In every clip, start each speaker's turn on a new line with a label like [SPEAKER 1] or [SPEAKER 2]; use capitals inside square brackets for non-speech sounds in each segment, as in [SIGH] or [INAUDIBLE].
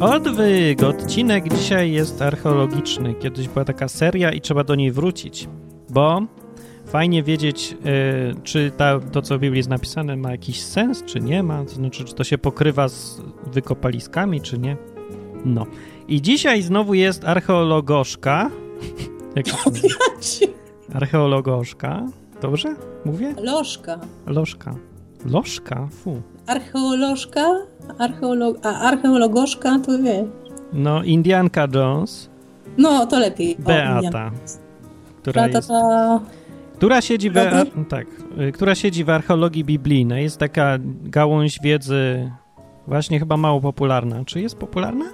[SPEAKER 1] Odwyk, odcinek dzisiaj jest archeologiczny. Kiedyś była taka seria i trzeba do niej wrócić, bo fajnie wiedzieć, y, czy ta, to, co w Biblii jest napisane, ma jakiś sens, czy nie ma, to znaczy, czy to się pokrywa z wykopaliskami, czy nie. No. I dzisiaj znowu jest archeologoszka. [LAUGHS] Jak się mówi? Archeologoszka. Dobrze? Mówię?
[SPEAKER 2] Lożka.
[SPEAKER 1] Lożka. Lożka? Fu.
[SPEAKER 2] Archeolożka? Archeolog... A archeologoszka to wie.
[SPEAKER 1] No, Indianka Jones,
[SPEAKER 2] No, to lepiej. O, Indiana.
[SPEAKER 1] Beata, która
[SPEAKER 2] Beata
[SPEAKER 1] jest
[SPEAKER 2] ta...
[SPEAKER 1] Która siedzi, w, a,
[SPEAKER 2] Robi?
[SPEAKER 1] tak, y, która siedzi w archeologii biblijnej, jest taka gałąź wiedzy właśnie chyba mało popularna. Czy jest popularna?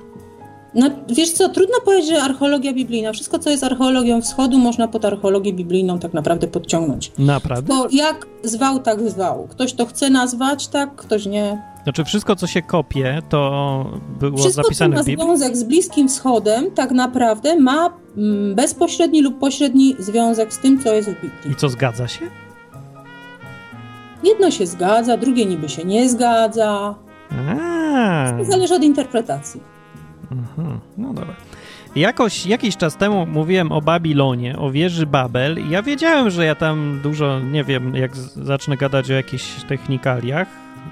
[SPEAKER 2] No, wiesz co, trudno powiedzieć, że archeologia biblijna. Wszystko, co jest archeologią wschodu, można pod archeologię biblijną tak naprawdę podciągnąć.
[SPEAKER 1] Naprawdę?
[SPEAKER 2] Bo jak zwał, tak zwał. Ktoś to chce nazwać, tak, ktoś nie.
[SPEAKER 1] Znaczy wszystko, co się kopie, to było
[SPEAKER 2] Wszystko, co
[SPEAKER 1] zapisane
[SPEAKER 2] ma
[SPEAKER 1] w Biblii?
[SPEAKER 2] związek z Bliskim Wschodem, tak naprawdę ma mm, bezpośredni lub pośredni związek z tym, co jest w Biblii.
[SPEAKER 1] I co, zgadza się?
[SPEAKER 2] Jedno się zgadza, drugie niby się nie zgadza.
[SPEAKER 1] A,
[SPEAKER 2] To zależy od interpretacji.
[SPEAKER 1] aha, no dobra. Jakoś, jakiś czas temu mówiłem o Babilonie, o wieży Babel i ja wiedziałem, że ja tam dużo, nie wiem, jak z- zacznę gadać o jakichś technikaliach,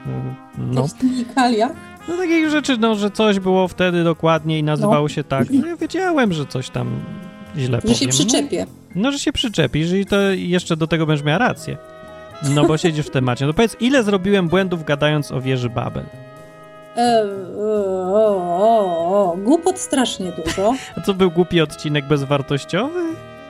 [SPEAKER 1] y, no
[SPEAKER 2] No. Technikalia.
[SPEAKER 1] No takich rzeczy, no, że coś było wtedy dokładnie i nazywało się tak. No, ja wiedziałem, że coś tam źle
[SPEAKER 2] Że
[SPEAKER 1] powiem.
[SPEAKER 2] się przyczepię.
[SPEAKER 1] No, no, że się przyczepisz i to jeszcze do tego będziesz miała rację. No, bo siedzisz w temacie. No powiedz, ile zrobiłem błędów gadając o wieży Babel?
[SPEAKER 2] E, o, o, o, głupot strasznie dużo.
[SPEAKER 1] A co, był głupi odcinek bezwartościowy?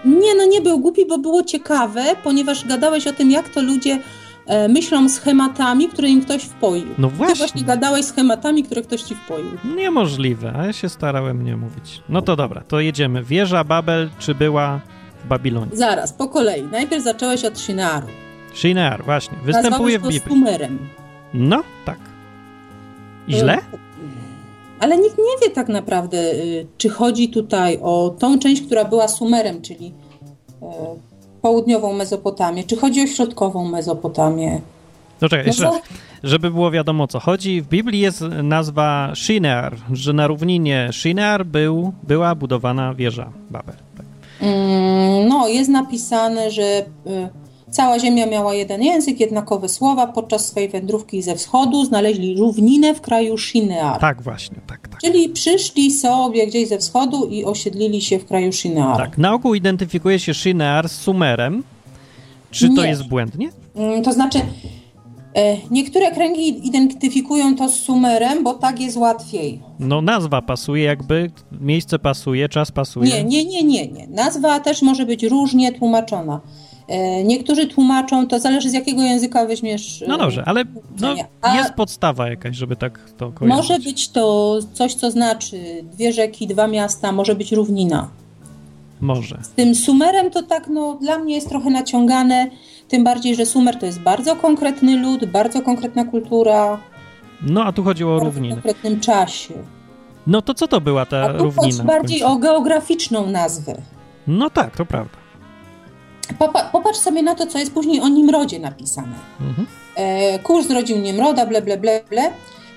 [SPEAKER 2] Nie, no nie był głupi, bo było ciekawe, ponieważ gadałeś o tym, jak to ludzie e, myślą schematami, które im ktoś wpoił.
[SPEAKER 1] No
[SPEAKER 2] Ty
[SPEAKER 1] właśnie.
[SPEAKER 2] właśnie gadałeś schematami, które ktoś ci wpoił.
[SPEAKER 1] Niemożliwe, a ja się starałem nie mówić. No to dobra, to jedziemy. Wieża Babel, czy była w Babilonie?
[SPEAKER 2] Zaraz, po kolei. Najpierw zacząłeś od Shinaru.
[SPEAKER 1] Shinar, właśnie,
[SPEAKER 2] Nazwałeś
[SPEAKER 1] występuje w
[SPEAKER 2] go
[SPEAKER 1] Biblii.
[SPEAKER 2] Sumerem.
[SPEAKER 1] No, tak. I źle?
[SPEAKER 2] Ale nikt nie wie tak naprawdę, y, czy chodzi tutaj o tą część, która była Sumerem, czyli y, południową Mezopotamię, czy chodzi o środkową Mezopotamię.
[SPEAKER 1] No czekaj, jeszcze raz.
[SPEAKER 2] za-
[SPEAKER 1] Żeby było wiadomo o co chodzi, w Biblii jest nazwa Shinar, że na równinie Shinar był, była budowana wieża Babel. Tak.
[SPEAKER 2] Mm, no, jest napisane, że y, cała Ziemia miała jeden język, jednakowe słowa. Podczas swojej wędrówki ze wschodu znaleźli równinę w kraju Shinear.
[SPEAKER 1] tak właśnie, tak, tak.
[SPEAKER 2] Czyli przyszli sobie gdzieś ze wschodu i osiedlili się w kraju Shinear.
[SPEAKER 1] tak. Na ogół identyfikuje się Shinar z Sumerem. Czy to
[SPEAKER 2] Nie.
[SPEAKER 1] jest błędnie?
[SPEAKER 2] Mm, To znaczy, e, niektóre kręgi identyfikują to z Sumerem, bo tak jest łatwiej.
[SPEAKER 1] No nazwa pasuje jakby, miejsce pasuje, czas pasuje.
[SPEAKER 2] Nie, nie, nie, nie, nie. Nazwa też może być różnie tłumaczona. E, Niektórzy tłumaczą, to zależy z jakiego języka weźmiesz. e,
[SPEAKER 1] No dobrze, ale no,
[SPEAKER 2] Nie. A-
[SPEAKER 1] jest podstawa jakaś, żeby tak to kojarzyć.
[SPEAKER 2] Może być to coś, co znaczy dwie rzeki, dwa miasta, może być równina.
[SPEAKER 1] Może.
[SPEAKER 2] Z tym Sumerem to tak, no dla mnie jest trochę naciągane, tym bardziej, że Sumer to jest bardzo konkretny lud, bardzo konkretna kultura,
[SPEAKER 1] No a tu chodziło o
[SPEAKER 2] w
[SPEAKER 1] równinę.
[SPEAKER 2] konkretnym czasie.
[SPEAKER 1] No to co to była ta
[SPEAKER 2] A tu chodzi
[SPEAKER 1] równina? w
[SPEAKER 2] bardziej
[SPEAKER 1] końcu?
[SPEAKER 2] o geograficzną nazwę.
[SPEAKER 1] No tak, to prawda.
[SPEAKER 2] Popa- popatrz sobie na to, co jest później o Nimrodzie napisane.
[SPEAKER 1] Mhm.
[SPEAKER 2] E, Kurs zrodził Nimroda, ble, ble, ble, ble.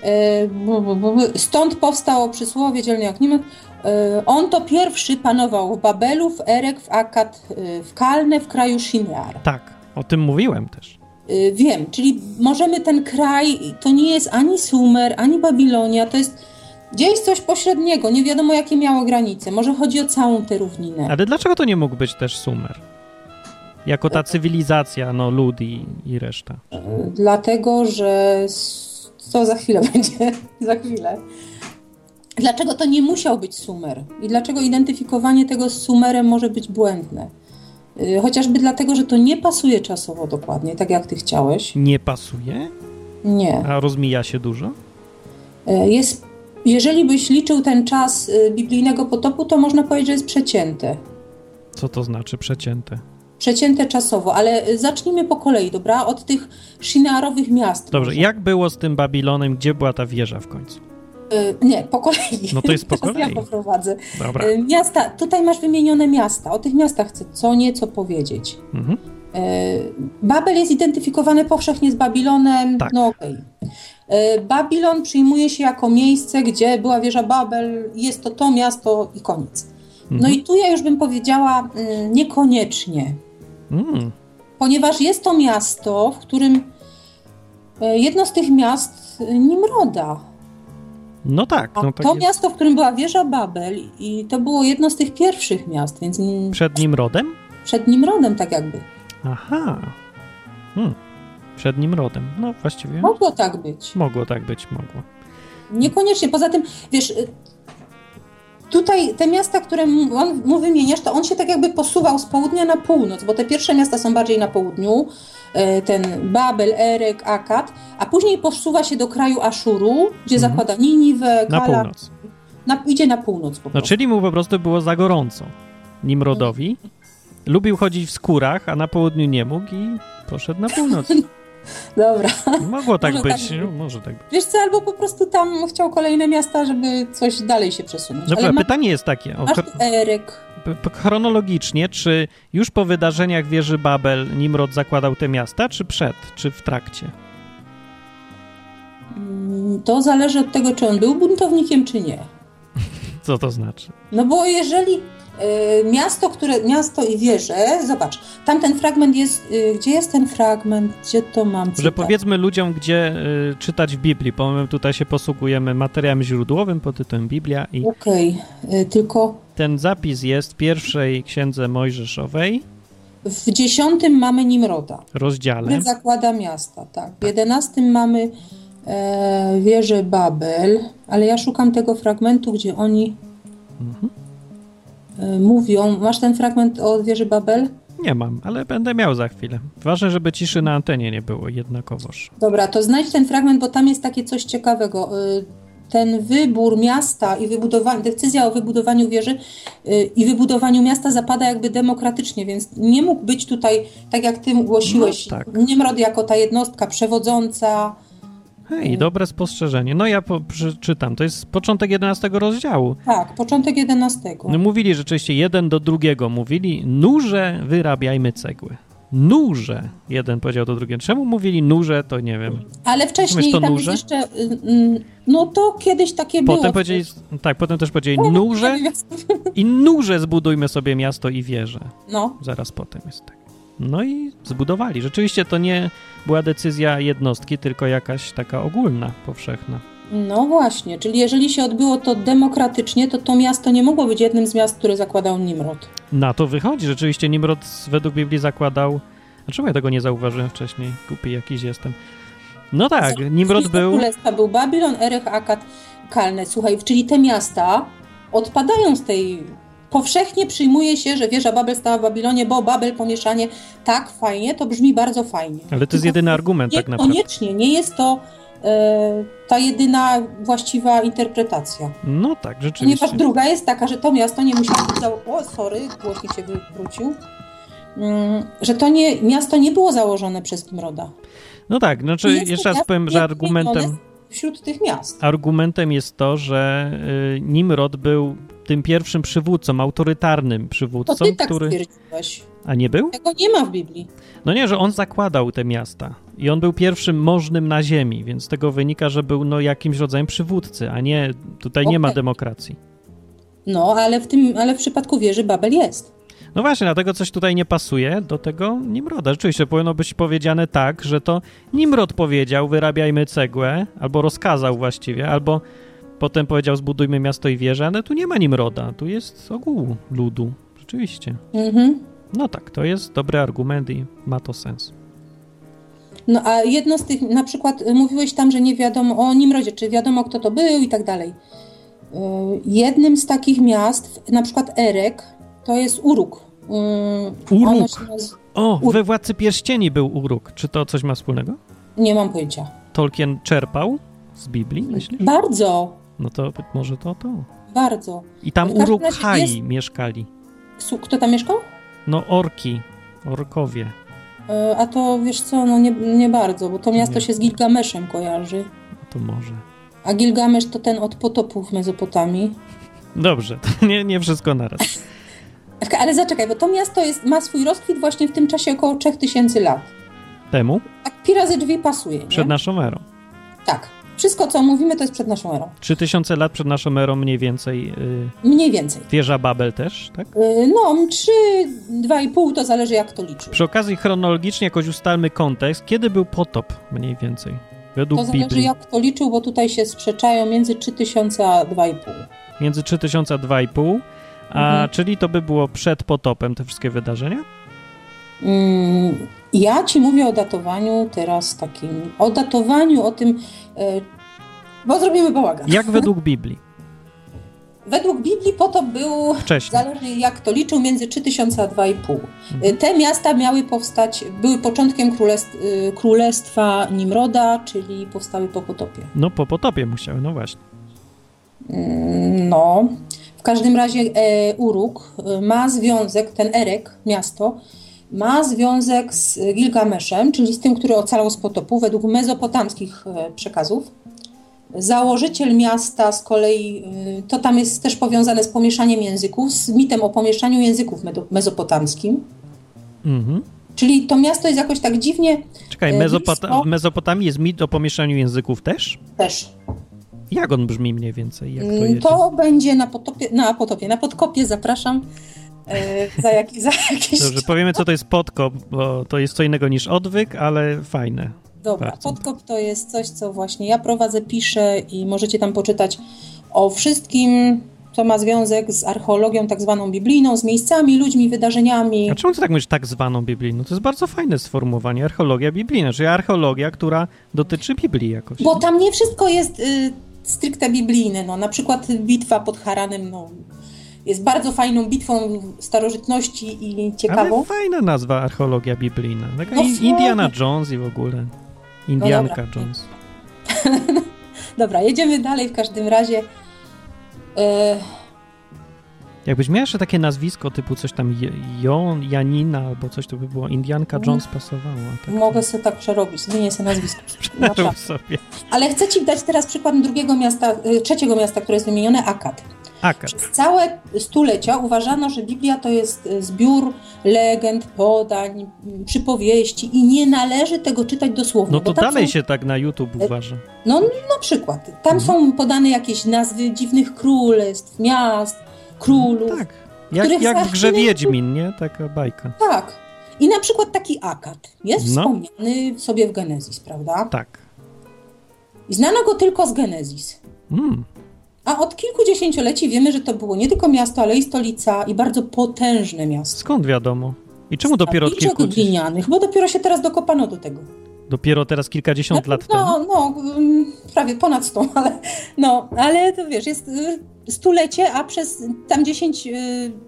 [SPEAKER 2] E, bu, bu, bu, bu. Stąd powstało przysłowie dzielny jak Nimrod. E, On to pierwszy panował w Babelu, w Erek, w Akkad, e, w Kalne, w kraju Shinear.
[SPEAKER 1] Tak, o tym mówiłem też.
[SPEAKER 2] E, Wiem, czyli możemy ten kraj, to nie jest ani Sumer, ani Babilonia, to jest gdzieś coś pośredniego, nie wiadomo jakie miało granice. Może chodzi o całą tę równinę.
[SPEAKER 1] Ale dlaczego to nie mógł być też Sumer? Jako ta cywilizacja, no lud i, i reszta.
[SPEAKER 2] Dlatego, że s- to za chwilę [LAUGHS] będzie, za chwilę. Dlaczego to nie musiał być Sumer? I dlaczego identyfikowanie tego z Sumerem może być błędne? Y, Chociażby dlatego, że to nie pasuje czasowo dokładnie, tak jak ty chciałeś.
[SPEAKER 1] Nie pasuje?
[SPEAKER 2] Nie.
[SPEAKER 1] A rozmija się dużo?
[SPEAKER 2] Y, Jest, jeżeli byś liczył ten czas y, biblijnego potopu, to można powiedzieć, że jest przecięte.
[SPEAKER 1] Co to znaczy przecięte?
[SPEAKER 2] Przecięte czasowo, ale y, zacznijmy po kolei, dobra? Od tych szinarowych miast.
[SPEAKER 1] Dobrze,
[SPEAKER 2] może.
[SPEAKER 1] jak było z tym Babilonem? Gdzie była ta wieża w końcu?
[SPEAKER 2] Y, Nie, po kolei.
[SPEAKER 1] No to jest po
[SPEAKER 2] [LAUGHS] Teraz
[SPEAKER 1] kolei.
[SPEAKER 2] Ja poprowadzę.
[SPEAKER 1] Dobra.
[SPEAKER 2] Y, Miasta, tutaj masz wymienione miasta. O tych miastach chcę co nieco powiedzieć.
[SPEAKER 1] Mhm.
[SPEAKER 2] Y, Babel jest identyfikowany powszechnie z Babilonem.
[SPEAKER 1] Tak.
[SPEAKER 2] No okej. Babilon przyjmuje się jako miejsce, gdzie była wieża Babel, jest to to miasto i koniec. No
[SPEAKER 1] Mhm.
[SPEAKER 2] i tu ja już bym powiedziała mm, niekoniecznie,
[SPEAKER 1] Mm.
[SPEAKER 2] ponieważ jest to miasto, w którym e, jedno z tych miast e, Nimroda.
[SPEAKER 1] No tak,
[SPEAKER 2] A
[SPEAKER 1] no tak
[SPEAKER 2] to
[SPEAKER 1] jest.
[SPEAKER 2] miasto, w którym była wieża Babel i to było jedno z tych pierwszych miast, więc mm,
[SPEAKER 1] Przed nim rodem?
[SPEAKER 2] przed Nimrodem tak jakby.
[SPEAKER 1] Aha. Hmm. Przed nim rodem. No właściwie
[SPEAKER 2] Mogło tak być.
[SPEAKER 1] mogło tak być, mogło.
[SPEAKER 2] Niekoniecznie. Poza tym, wiesz, y, tutaj te miasta, które mu- on, mu wymieniasz, to on się tak jakby posuwał z południa na północ, bo te pierwsze miasta są bardziej na południu, y, ten Babel, Erek, Akkad, a później posuwa się do kraju Aszuru, gdzie
[SPEAKER 1] Mhm.
[SPEAKER 2] zakłada Niniwę,
[SPEAKER 1] Na
[SPEAKER 2] Kala,
[SPEAKER 1] północ.
[SPEAKER 2] na, idzie na północ po
[SPEAKER 1] No
[SPEAKER 2] prostu.
[SPEAKER 1] czyli mu po prostu było za gorąco. Nimrodowi. Lubił chodzić w skórach, a na południu nie mógł i poszedł na północ.
[SPEAKER 2] [LAUGHS] Dobra.
[SPEAKER 1] Mogło tak
[SPEAKER 2] Może tak
[SPEAKER 1] być,
[SPEAKER 2] być.
[SPEAKER 1] no, może tak być.
[SPEAKER 2] Wiesz co, albo po prostu tam chciał kolejne miasta, żeby coś dalej się przesunąć.
[SPEAKER 1] Dobra,
[SPEAKER 2] Ale ma,
[SPEAKER 1] pytanie jest takie. O,
[SPEAKER 2] masz
[SPEAKER 1] chro-
[SPEAKER 2] tu Erek.
[SPEAKER 1] p- p- chronologicznie, czy już po wydarzeniach wieży Babel Nimrod zakładał te miasta, czy przed, czy w trakcie?
[SPEAKER 2] Mm, To zależy od tego, czy on był buntownikiem, czy nie.
[SPEAKER 1] Co to znaczy?
[SPEAKER 2] No bo jeżeli y, miasto, które miasto i wieże, zobacz, tamten fragment jest, y, gdzie jest ten fragment, gdzie to mam
[SPEAKER 1] Że
[SPEAKER 2] cytat?
[SPEAKER 1] powiedzmy ludziom, gdzie y, czytać w Biblii, bo my tutaj się posługujemy materiałem źródłowym pod tytułem Biblia i
[SPEAKER 2] Okej, y, tylko
[SPEAKER 1] ten zapis jest w pierwszej księdze Mojżeszowej,
[SPEAKER 2] w dziesiątym mamy Nimroda,
[SPEAKER 1] rozdziale.
[SPEAKER 2] który zakłada miasta, tak. W jedenastym mamy e, wieżę Babel, ale ja szukam tego fragmentu, gdzie oni
[SPEAKER 1] Mhm.
[SPEAKER 2] e, mówią, masz ten fragment o wieży Babel?
[SPEAKER 1] Nie mam, ale będę miał za chwilę. Ważne, żeby ciszy na antenie nie było jednakowoż.
[SPEAKER 2] Dobra, to znajdź ten fragment, bo tam jest takie coś ciekawego. Y, Ten wybór miasta i wybudowanie, decyzja o wybudowaniu wieży y, i wybudowaniu miasta zapada jakby demokratycznie, więc nie mógł być tutaj, tak jak ty głosiłeś,
[SPEAKER 1] No tak.
[SPEAKER 2] Nimrod jako ta jednostka przewodząca.
[SPEAKER 1] Hej, dobre spostrzeżenie. No ja po, przeczytam. To jest początek 11 rozdziału.
[SPEAKER 2] Tak, początek 11.
[SPEAKER 1] No, Mówili rzeczywiście jeden do drugiego. Mówili, nurze wyrabiajmy cegły. Nurze, jeden powiedział do drugiego. Czemu mówili nurze, to nie wiem.
[SPEAKER 2] Ale wcześniej
[SPEAKER 1] to
[SPEAKER 2] tam jest
[SPEAKER 1] nurze?
[SPEAKER 2] jeszcze, y, y, no to kiedyś takie było.
[SPEAKER 1] Potem powiedzieli, tak, potem też powiedzieli nurze i nurze zbudujmy sobie miasto i wieżę.
[SPEAKER 2] [LAUGHS] No,
[SPEAKER 1] Zaraz potem jest tak. No i zbudowali. Rzeczywiście to nie była decyzja jednostki, tylko jakaś taka ogólna, powszechna.
[SPEAKER 2] no właśnie, czyli jeżeli się odbyło to demokratycznie, to to miasto nie mogło być jednym z miast, które zakładał Nimrod.
[SPEAKER 1] Na to wychodzi. Rzeczywiście Nimrod według Biblii zakładał. Dlaczego ja tego nie zauważyłem wcześniej? Głupi jakiś jestem. No tak, Nimrod
[SPEAKER 2] Wśród
[SPEAKER 1] był.
[SPEAKER 2] Królestwa był Babilon, Erech, Akkad, Kalne. Słuchaj, czyli te miasta odpadają z tej... Powszechnie przyjmuje się, że wieża Babel stała w Babilonie, bo Babel pomieszanie tak fajnie, to brzmi bardzo fajnie.
[SPEAKER 1] Ale to jest jedyny argument tak naprawdę.
[SPEAKER 2] Niekoniecznie, nie jest to e, ta jedyna właściwa interpretacja.
[SPEAKER 1] No tak,
[SPEAKER 2] Ponieważ
[SPEAKER 1] rzeczywiście.
[SPEAKER 2] druga jest taka, że to miasto nie musiało być zało- O, sorry, głośnik się wywrócił. Mm, że to nie, miasto nie było założone przez Nimroda.
[SPEAKER 1] No tak, znaczy
[SPEAKER 2] Jest to
[SPEAKER 1] jeszcze raz
[SPEAKER 2] miasto
[SPEAKER 1] powiem, że
[SPEAKER 2] niewymienione
[SPEAKER 1] argumentem,
[SPEAKER 2] Wśród tych miast.
[SPEAKER 1] argumentem jest to, że y, Nimrod był tym pierwszym przywódcą, autorytarnym
[SPEAKER 2] To
[SPEAKER 1] przywódcą,
[SPEAKER 2] ty tak
[SPEAKER 1] który.
[SPEAKER 2] stwierdziłeś.
[SPEAKER 1] A nie był?
[SPEAKER 2] Tego nie ma w Biblii.
[SPEAKER 1] No nie, że on zakładał te miasta i on był pierwszym możnym na ziemi, więc z tego wynika, że był no jakimś rodzajem przywódcy, a nie, tutaj nie ma
[SPEAKER 2] Okej.
[SPEAKER 1] demokracji.
[SPEAKER 2] No, ale w, tym, ale w przypadku wieży Babel jest.
[SPEAKER 1] No właśnie, dlatego coś tutaj nie pasuje do tego Nimroda. Rzeczywiście powinno być powiedziane tak, że to Nimrod powiedział, wyrabiajmy cegłę, albo rozkazał właściwie, albo potem powiedział, zbudujmy miasto i wieżę, ale tu nie ma Nimroda, tu jest ogół ludu, rzeczywiście.
[SPEAKER 2] Mhm.
[SPEAKER 1] No tak, to jest dobry argument i ma to sens.
[SPEAKER 2] No, a jedno z tych, na przykład y, mówiłeś tam, że nie wiadomo o Nimrodzie, czy wiadomo kto to był i tak dalej. Y, Jednym z takich miast, na przykład Erek, to jest Uruk. Y,
[SPEAKER 1] Uruk.
[SPEAKER 2] ono się naz-
[SPEAKER 1] O,
[SPEAKER 2] Ur-
[SPEAKER 1] we Władcy Pierścieni był uruk. Czy to coś ma wspólnego?
[SPEAKER 2] Nie mam pojęcia.
[SPEAKER 1] Tolkien czerpał z
[SPEAKER 2] Tak.
[SPEAKER 1] Biblii, myślisz?
[SPEAKER 2] Bardzo,
[SPEAKER 1] No to być może to to.
[SPEAKER 2] bardzo.
[SPEAKER 1] I tam
[SPEAKER 2] W każdym
[SPEAKER 1] Urukhai
[SPEAKER 2] razie
[SPEAKER 1] mieszkali.
[SPEAKER 2] Su- Kto tam mieszkał?
[SPEAKER 1] No orki, orkowie.
[SPEAKER 2] Y, A to wiesz co, no nie, nie bardzo, bo to miasto
[SPEAKER 1] Nie.
[SPEAKER 2] się z Gilgameszem kojarzy.
[SPEAKER 1] No to może.
[SPEAKER 2] A Gilgamesz to ten od potopów w Mezopotamii.
[SPEAKER 1] Dobrze, [LAUGHS] to nie, nie wszystko naraz.
[SPEAKER 2] Tak, Ale zaczekaj, bo to miasto jest, ma swój rozkwit właśnie w tym czasie około 3000 lat.
[SPEAKER 1] Temu
[SPEAKER 2] Tak pi razy drzwi pasuje, nie?
[SPEAKER 1] przed naszą erą.
[SPEAKER 2] Tak. Wszystko, co mówimy, to jest przed naszą erą.
[SPEAKER 1] 3000 lat przed naszą erą mniej więcej y,
[SPEAKER 2] Mniej więcej.
[SPEAKER 1] wieża Babel też, tak?
[SPEAKER 2] Y, No, 3, 2,5 to zależy jak to liczysz.
[SPEAKER 1] Przy okazji chronologicznie jakoś ustalmy kontekst. Kiedy był potop mniej więcej? Według
[SPEAKER 2] To zależy
[SPEAKER 1] Biblii.
[SPEAKER 2] jak to liczył, bo tutaj się sprzeczają między 3000 a 2,5.
[SPEAKER 1] Między 3000 a 2,5. A
[SPEAKER 2] Mhm.
[SPEAKER 1] czyli to by było przed potopem te wszystkie wydarzenia?
[SPEAKER 2] Mm, Ja ci mówię o datowaniu teraz takim, o datowaniu, o tym, e, bo zrobimy bałagan.
[SPEAKER 1] Jak według Biblii?
[SPEAKER 2] Według Biblii potop był,
[SPEAKER 1] Wcześniej.
[SPEAKER 2] zależy jak to liczył, między 3000 a 2,5. E, Te miasta miały powstać, były początkiem królestw, e, królestwa Nimroda, czyli powstały po potopie.
[SPEAKER 1] No po potopie musiały, no właśnie.
[SPEAKER 2] Mm, No, w każdym razie e, Uruk e, ma związek, ten Erek, miasto, ma związek z Gilgameszem, czyli z tym, który ocalał z potopu, według mezopotamskich e, przekazów. Założyciel miasta z kolei, y, to tam jest też powiązane z pomieszaniem języków, z mitem o pomieszaniu języków medo- mezopotamskim.
[SPEAKER 1] Mhm.
[SPEAKER 2] Czyli to miasto jest jakoś tak dziwnie
[SPEAKER 1] Czekaj,
[SPEAKER 2] E,
[SPEAKER 1] Mezopota-
[SPEAKER 2] blisko.
[SPEAKER 1] w Mezopotamii jest mit o pomieszaniu języków też?
[SPEAKER 2] też.
[SPEAKER 1] Jak on brzmi mniej więcej? Jak to
[SPEAKER 2] Mm,
[SPEAKER 1] jedzie?
[SPEAKER 2] To będzie na potopie, na potopie, na podkopie, zapraszam. e, Za, jak, za [LAUGHS] jakieś
[SPEAKER 1] Dobrze, powiemy co to jest podkop, bo to jest co innego niż odwyk, ale fajne.
[SPEAKER 2] Dobra,
[SPEAKER 1] Bardzo.
[SPEAKER 2] podkop to jest coś, co właśnie ja prowadzę, piszę i możecie tam poczytać o wszystkim, co ma związek z archeologią tak zwaną biblijną, z miejscami, ludźmi, wydarzeniami.
[SPEAKER 1] A czemu ty tak mówisz tak zwaną biblijną? To jest bardzo fajne sformułowanie, archeologia biblijna, czyli archeologia, która dotyczy Biblii jakoś.
[SPEAKER 2] Bo tam nie wszystko jest y, stricte biblijne. No, na przykład bitwa pod Haranem no, jest bardzo fajną bitwą starożytności i ciekawą.
[SPEAKER 1] Ale fajna nazwa archeologia biblijna. Taka
[SPEAKER 2] No
[SPEAKER 1] in-
[SPEAKER 2] fajnie.
[SPEAKER 1] Indiana Jones i w ogóle. Indianka Jones.
[SPEAKER 2] Dobra, jedziemy dalej w każdym razie. E,
[SPEAKER 1] Jakbyś miała jeszcze takie nazwisko typu coś tam Je- Jon, Janina albo coś, to by było Indianka Jones pasowało. a Tak. [LAUGHS]
[SPEAKER 2] Mhm. mogę znaczy- sobie tak przerobić, zmienię sobie nazwisko. Dobra.
[SPEAKER 1] Przeżył sobie.
[SPEAKER 2] Ale chcę Ci dać teraz przykład drugiego miasta, y, trzeciego miasta, które jest wymienione, Akkad.
[SPEAKER 1] Akat.
[SPEAKER 2] Przez całe stulecia uważano, że Biblia to jest y, zbiór legend, podań, y, przypowieści i nie należy tego czytać dosłownie.
[SPEAKER 1] No to
[SPEAKER 2] bo tam
[SPEAKER 1] dalej
[SPEAKER 2] są,
[SPEAKER 1] się Mhm. tak na YouTube uważa.
[SPEAKER 2] No na przykład, tam są podane jakieś nazwy dziwnych królestw, miast, królów.
[SPEAKER 1] Tak. Jak,
[SPEAKER 2] których
[SPEAKER 1] jak w
[SPEAKER 2] za
[SPEAKER 1] grze
[SPEAKER 2] chwilę-
[SPEAKER 1] Wiedźmin, nie? Taka bajka.
[SPEAKER 2] Tak. I na przykład taki Akkad jest
[SPEAKER 1] No.
[SPEAKER 2] wspomniany sobie w Genezis, prawda?
[SPEAKER 1] Tak.
[SPEAKER 2] I znano go tylko z Genezis.
[SPEAKER 1] Mm.
[SPEAKER 2] A od kilkudziesięcioleci wiemy, że to było nie tylko miasto, ale i stolica i bardzo potężne miasto.
[SPEAKER 1] Skąd wiadomo? I czemu dopiero od kilku...
[SPEAKER 2] glinianych, bo dopiero się teraz dokopano do tego.
[SPEAKER 1] Dopiero teraz kilkadziesiąt lat temu?
[SPEAKER 2] No, no, mm, prawie ponad sto, [LAUGHS] ale no, ale to wiesz, jest y, stulecie, a przez tam 10 y,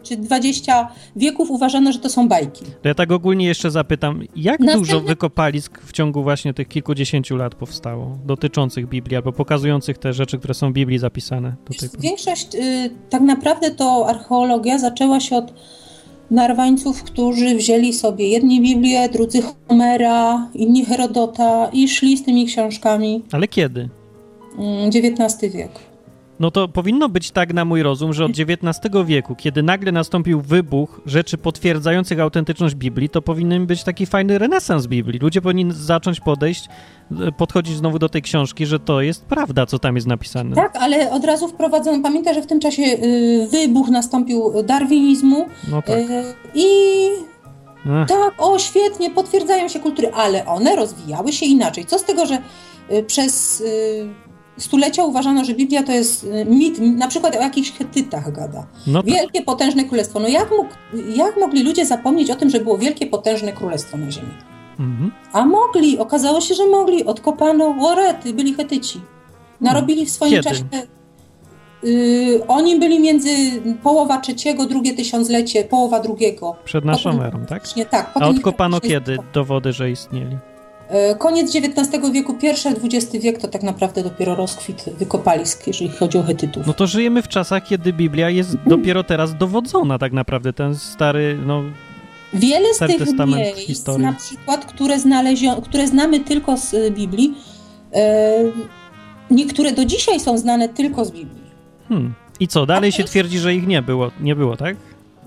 [SPEAKER 2] czy 20 wieków uważano, że to są bajki.
[SPEAKER 1] To ja tak ogólnie jeszcze zapytam, jak
[SPEAKER 2] Następny-
[SPEAKER 1] dużo wykopalisk w ciągu właśnie tych kilkudziesięciu lat powstało dotyczących Biblii albo pokazujących te rzeczy, które są w Biblii zapisane do tej
[SPEAKER 2] Wiesz,
[SPEAKER 1] pory?
[SPEAKER 2] Większość, y, tak naprawdę to archeologia zaczęła się od Narwańców, którzy wzięli sobie jedni Biblię, drudzy Homera, inni Herodota i szli z tymi książkami.
[SPEAKER 1] Ale kiedy?
[SPEAKER 2] Mm, XIX wiek.
[SPEAKER 1] No to powinno być tak na mój rozum, że od XIX wieku, kiedy nagle nastąpił wybuch rzeczy potwierdzających autentyczność Biblii, to powinien być taki fajny renesans Biblii. Ludzie powinni zacząć podejść, e, podchodzić znowu do tej książki, że to jest prawda, co tam jest napisane.
[SPEAKER 2] Tak, ale od razu wprowadzono, pamiętaj, że w tym czasie y, wybuch nastąpił darwinizmu
[SPEAKER 1] No tak. E,
[SPEAKER 2] y, i
[SPEAKER 1] Ech,
[SPEAKER 2] tak, o świetnie, potwierdzają się kultury, ale one rozwijały się inaczej. Co z tego, że y, przez y, stulecia uważano, że Biblia to jest y, mit, na przykład o jakichś Hetytach gada.
[SPEAKER 1] no tak.
[SPEAKER 2] Wielkie, potężne królestwo. No jak, mógł, jak mogli ludzie zapomnieć o tym, że było wielkie, potężne królestwo na ziemi?
[SPEAKER 1] Mhm.
[SPEAKER 2] A mogli, okazało się, że mogli. Odkopano Łorety, byli Chetyci. Narobili w swoim
[SPEAKER 1] Kiedy?
[SPEAKER 2] czasie. Y, oni byli między połowa trzeciego, drugie tysiąclecie, połowa drugiego.
[SPEAKER 1] Przed naszą
[SPEAKER 2] Potem-
[SPEAKER 1] erą, tak?
[SPEAKER 2] Nie tak.
[SPEAKER 1] A
[SPEAKER 2] potem-
[SPEAKER 1] odkopano kiedy dowody, że istnieli?
[SPEAKER 2] Y, tak. Koniec XIX wieku, pierwszy XX wiek to tak naprawdę dopiero rozkwit wykopalisk, jeżeli chodzi o Hetytów.
[SPEAKER 1] No to żyjemy w czasach, kiedy Biblia jest dopiero teraz dowodzona tak naprawdę. Ten stary, no
[SPEAKER 2] Wiele z
[SPEAKER 1] Stary
[SPEAKER 2] tych
[SPEAKER 1] Testament
[SPEAKER 2] miejsc,
[SPEAKER 1] historii.
[SPEAKER 2] na przykład, które, znalezio- które znamy tylko z y, Biblii, e, niektóre do dzisiaj są znane tylko z Biblii.
[SPEAKER 1] hmm. I co, dalej się twierdzi, że ich nie było, nie było, tak?